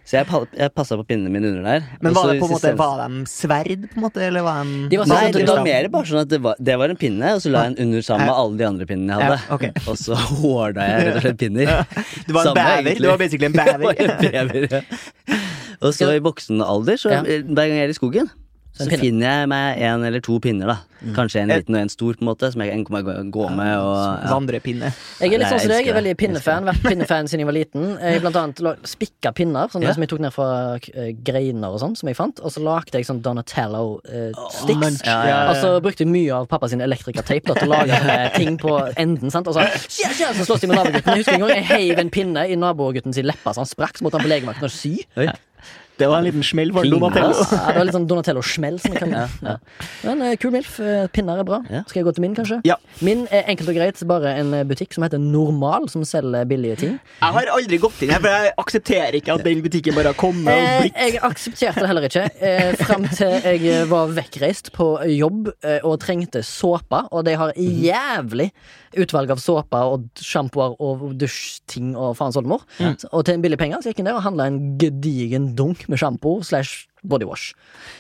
C: Så jeg, pa- jeg passa på pinnene mine under der.
B: men
C: Og
B: var
C: så
B: det på en måte
C: sist-
B: Var de sverd, på en måte? Eller var de
A: De var sånn
C: Nei, Altså, det var
A: typisk-
C: mer bare sånn at det var, det var en pinne, og så la jeg den under sammen med alle de andre pinnene jeg hadde.
B: Ja, ok.
C: Og så hårda jeg rett og slett pinner.
B: Du var en
C: Samme,
B: bever.
C: egentlig.
B: Du var basically en bever.
C: Jeg var en bever, ja. Og så i voksen alder, så
A: Ja.
C: hver gang jeg er i skogen,
A: Så en
C: Så
A: pinne.
C: finner jeg meg en eller to pinner, da.
B: Mm.
C: Kanskje en liten og en stor, på en måte, som jeg kan gå gå med og ja.
B: Vandrepinne.
A: Jeg er litt
C: Nei,
A: sånn som deg, jeg er
C: elsker
A: veldig
C: det.
A: pinnefan. Vært pinnefan siden jeg var liten. Jeg blant annet la- spikka pinner, sånn
C: Ja.
A: som jeg tok ned fra eh, greiner og sånn, som jeg fant. Og så lagde jeg sånn Donatello-sticks.
B: munch.
C: Ja, ja, ja.
A: Og så brukte jeg mye av pappa sin elektrikerteip da, til å lage sånne ting på enden. sant? Og så, «Skjer, skjer», så slåss de med nabogutten. Jeg husker en gang jeg heiv en pinne i nabogutten sin leppe, så han sprakk, så måtte han på legevakten og sy.
C: Oi.
B: Det var en liten smell for
C: Pinne,
B: Donatello.
A: Ja, det var litt sånn Donatello-smell. som jeg kaller det. Men eh, kul milf. eh, Pinner er bra.
C: Ja.
A: Skal jeg gå til min, kanskje?
B: Ja.
A: Min er enkelt og greit bare en eh, butikk som heter Normal, som selger billige ting.
B: Jeg har aldri gått inn her, for jeg aksepterer ikke at den butikken bare har kommet og
A: Eh,
B: blitt
A: jeg aksepterte det heller ikke eh, fram til jeg eh, var vekkreist på jobb eh, og trengte såpe. Og de har
C: Mhm.
A: jævlig utvalg av såpe og sjampoer og dusjting og faens oldemor. Så- Og til en billig penge så gikk jeg ned og handla en gedigen dunk med sjampo slash bodywash.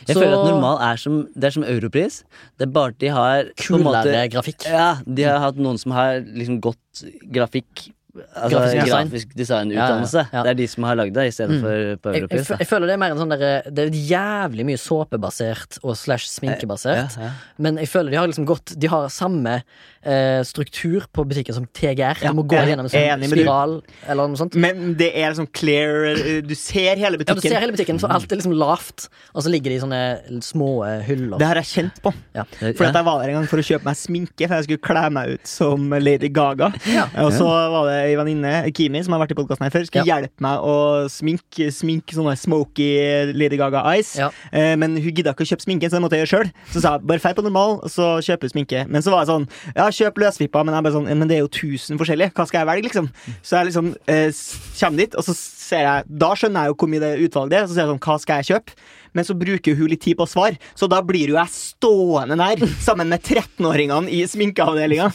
C: Jeg føler at normal er som, det er som europris. Det er bare at de har på en måte-
A: Kulere grafikk.
C: Ja, de har hatt noen som har liksom gått grafikk Altså
A: Grafisk
C: grafisk,
A: design.
C: designutdannelse.
A: Ja, ja, ja.
C: Det er de som har lagd det, istedenfor på
A: Jeg, jeg,
C: europris.
A: fø- jeg føler det er mer en sånn der, Det er jævlig mye såpebasert og slash
C: Ja,
A: sminkebasert.
C: ja.
A: Men jeg føler de har liksom gått De har samme eh, struktur på butikken som TGR.
B: Ja,
A: du må gå
B: jeg er
A: gjennom en sånn
B: enig med du.
A: spiral eller noe sånt.
B: Men det er sånn clear eh, Du ser
A: Ja,
B: hele
A: du
B: butikken.
A: ser hele butikken, for alt er liksom lavt, og så ligger de i sånne små eh, hyller.
B: Det har jeg kjent på.
A: Eh, Ja.
B: For at jeg var der en gang for å kjøpe meg sminke, for jeg skulle kle meg ut som Lady Gaga.
A: Ja.
B: Og så var det ei venninne, Kimi, som har vært i podkasten her før, skulle hjelpe meg å sminke, sminke sånne smoky Lady Gaga eyes.
A: Ja.
B: Eh, men hun gidda ikke å kjøpe sminke, så det måtte jeg gjøre sjøl. Så sa jeg bare feil på normal, og så kjøper du sminke. Men så var jeg sånn, ja, kjøp løsvippa, men jeg bare sånn, men det er jo 1000 forskjellige, hva skal jeg velge, liksom? Så jeg liksom eh, s- kommer dit, og så ser jeg, da skjønner jeg jo hvor mye det utvalget er, så ser jeg sånn, hva skal jeg kjøpe? Men så bruker hun litt tid på svar, så da blir jo jeg stående der sammen med 13-åringene i sminkeavdelinga.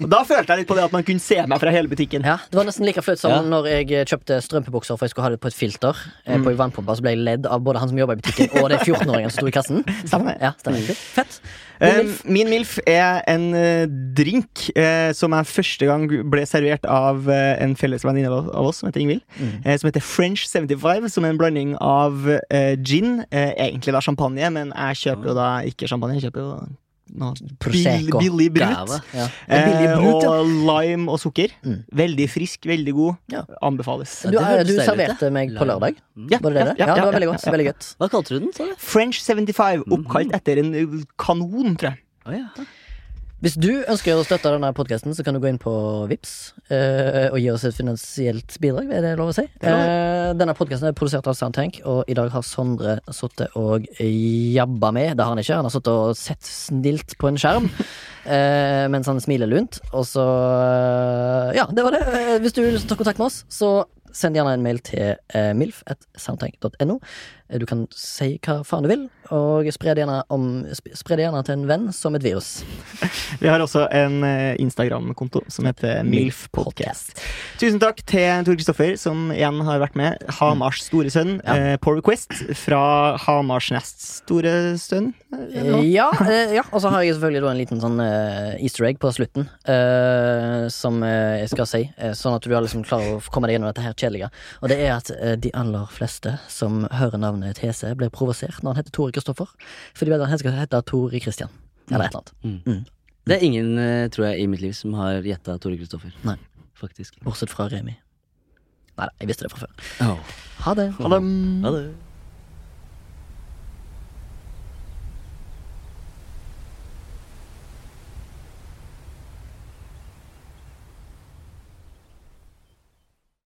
B: Og da følte jeg litt på det at man kunne se meg fra hele butikken.
A: Ah. Ja, det var nesten like flaut som
C: Ja.
A: når jeg eh, kjøpte strømpebukser for jeg skulle ha det på et filter. eh,
B: Mm.
A: På en vannpumpe, Så ble jeg ledd av både han som jobba i butikken, og de 14-åringene som sto i kassen.
B: Stemmer Mm. det?
A: Ja, stemmer. Fett.
B: Eh,
A: Min-
B: min MILF er en eh, drink eh, som jeg første gang ble servert av eh, en felles venninne av av oss, som heter Ingvild.
A: Mm.
B: eh, som heter French 75, som er en blanding av eh, gin, eh, egentlig da champagne, men jeg kjøper jo da ikke champagne, jeg kjøper jo noe bill-
A: Prosecco.
B: billig brut.
A: Gave. Ja.
B: Eh,
A: brut, ja.
B: og lime og sukker.
A: Mm.
B: Veldig frisk, veldig god.
A: Ja.
B: Anbefales.
A: Du,
C: det
A: eh,
C: hørtes
A: du
C: deilig ut,
A: serverte
C: det.
A: meg på
C: Lime.
A: lørdag.
B: Ja,
A: Var det det? Ja, det var veldig godt. Mm. Veldig godt.
C: Hva kalte du den, sa du?
B: French 75, oppkalt etter en eh, kanon, tror jeg.
C: Å, ja.
A: Hvis du ønsker å støtte denne podkasten, så kan du gå inn på Vips eh, og gi oss et finansielt bidrag. Er det lov å si? Eh, denne podkasten er produsert av Soundtank, og i dag har Sondre sittet og jabba med. Det har han ikke. Han har sittet og sett snilt på en skjerm eh, mens han smiler lunt. Og så eh, Ja, det var det. Eh, Hvis du vil ta kontakt med oss, så send gjerne en mail til eh, milf.soundtank.no. Eh, Du kan si hva faen du vil, og spre det gjerne, om, sp- spre det gjerne til en venn som et virus.
B: Vi har også en eh, Instagram-konto som heter
A: Mm.
B: MILF Podcast. Tusen takk til Tor Kristoffer, som igjen har vært med. Hamars store sønn,
A: Ja.
B: eh, på request fra Hamars nest store sønn. eh, eller noe.
A: Ja, eh, ja. og så har jeg selvfølgelig da en liten sånn eh, easter egg på slutten, eh, som eh, jeg skal si, eh, sånn at du er liksom klarer å komme deg gjennom dette her kjedelige. Og det er at eh, de aller fleste som hører navnet TC, blir provosert når han heter Tore Kristoffer, for de vet at han skal hete Tore Kristian, eller et eller annet.
C: Det er ingen, eh, tror jeg, i mitt liv som har gjetta Tore Kristoffer.
A: Nei.
C: Faktisk.
A: Bortsett fra Remi. Nei da, jeg visste det fra før. Ha det.
B: Ha det.
C: Ha det.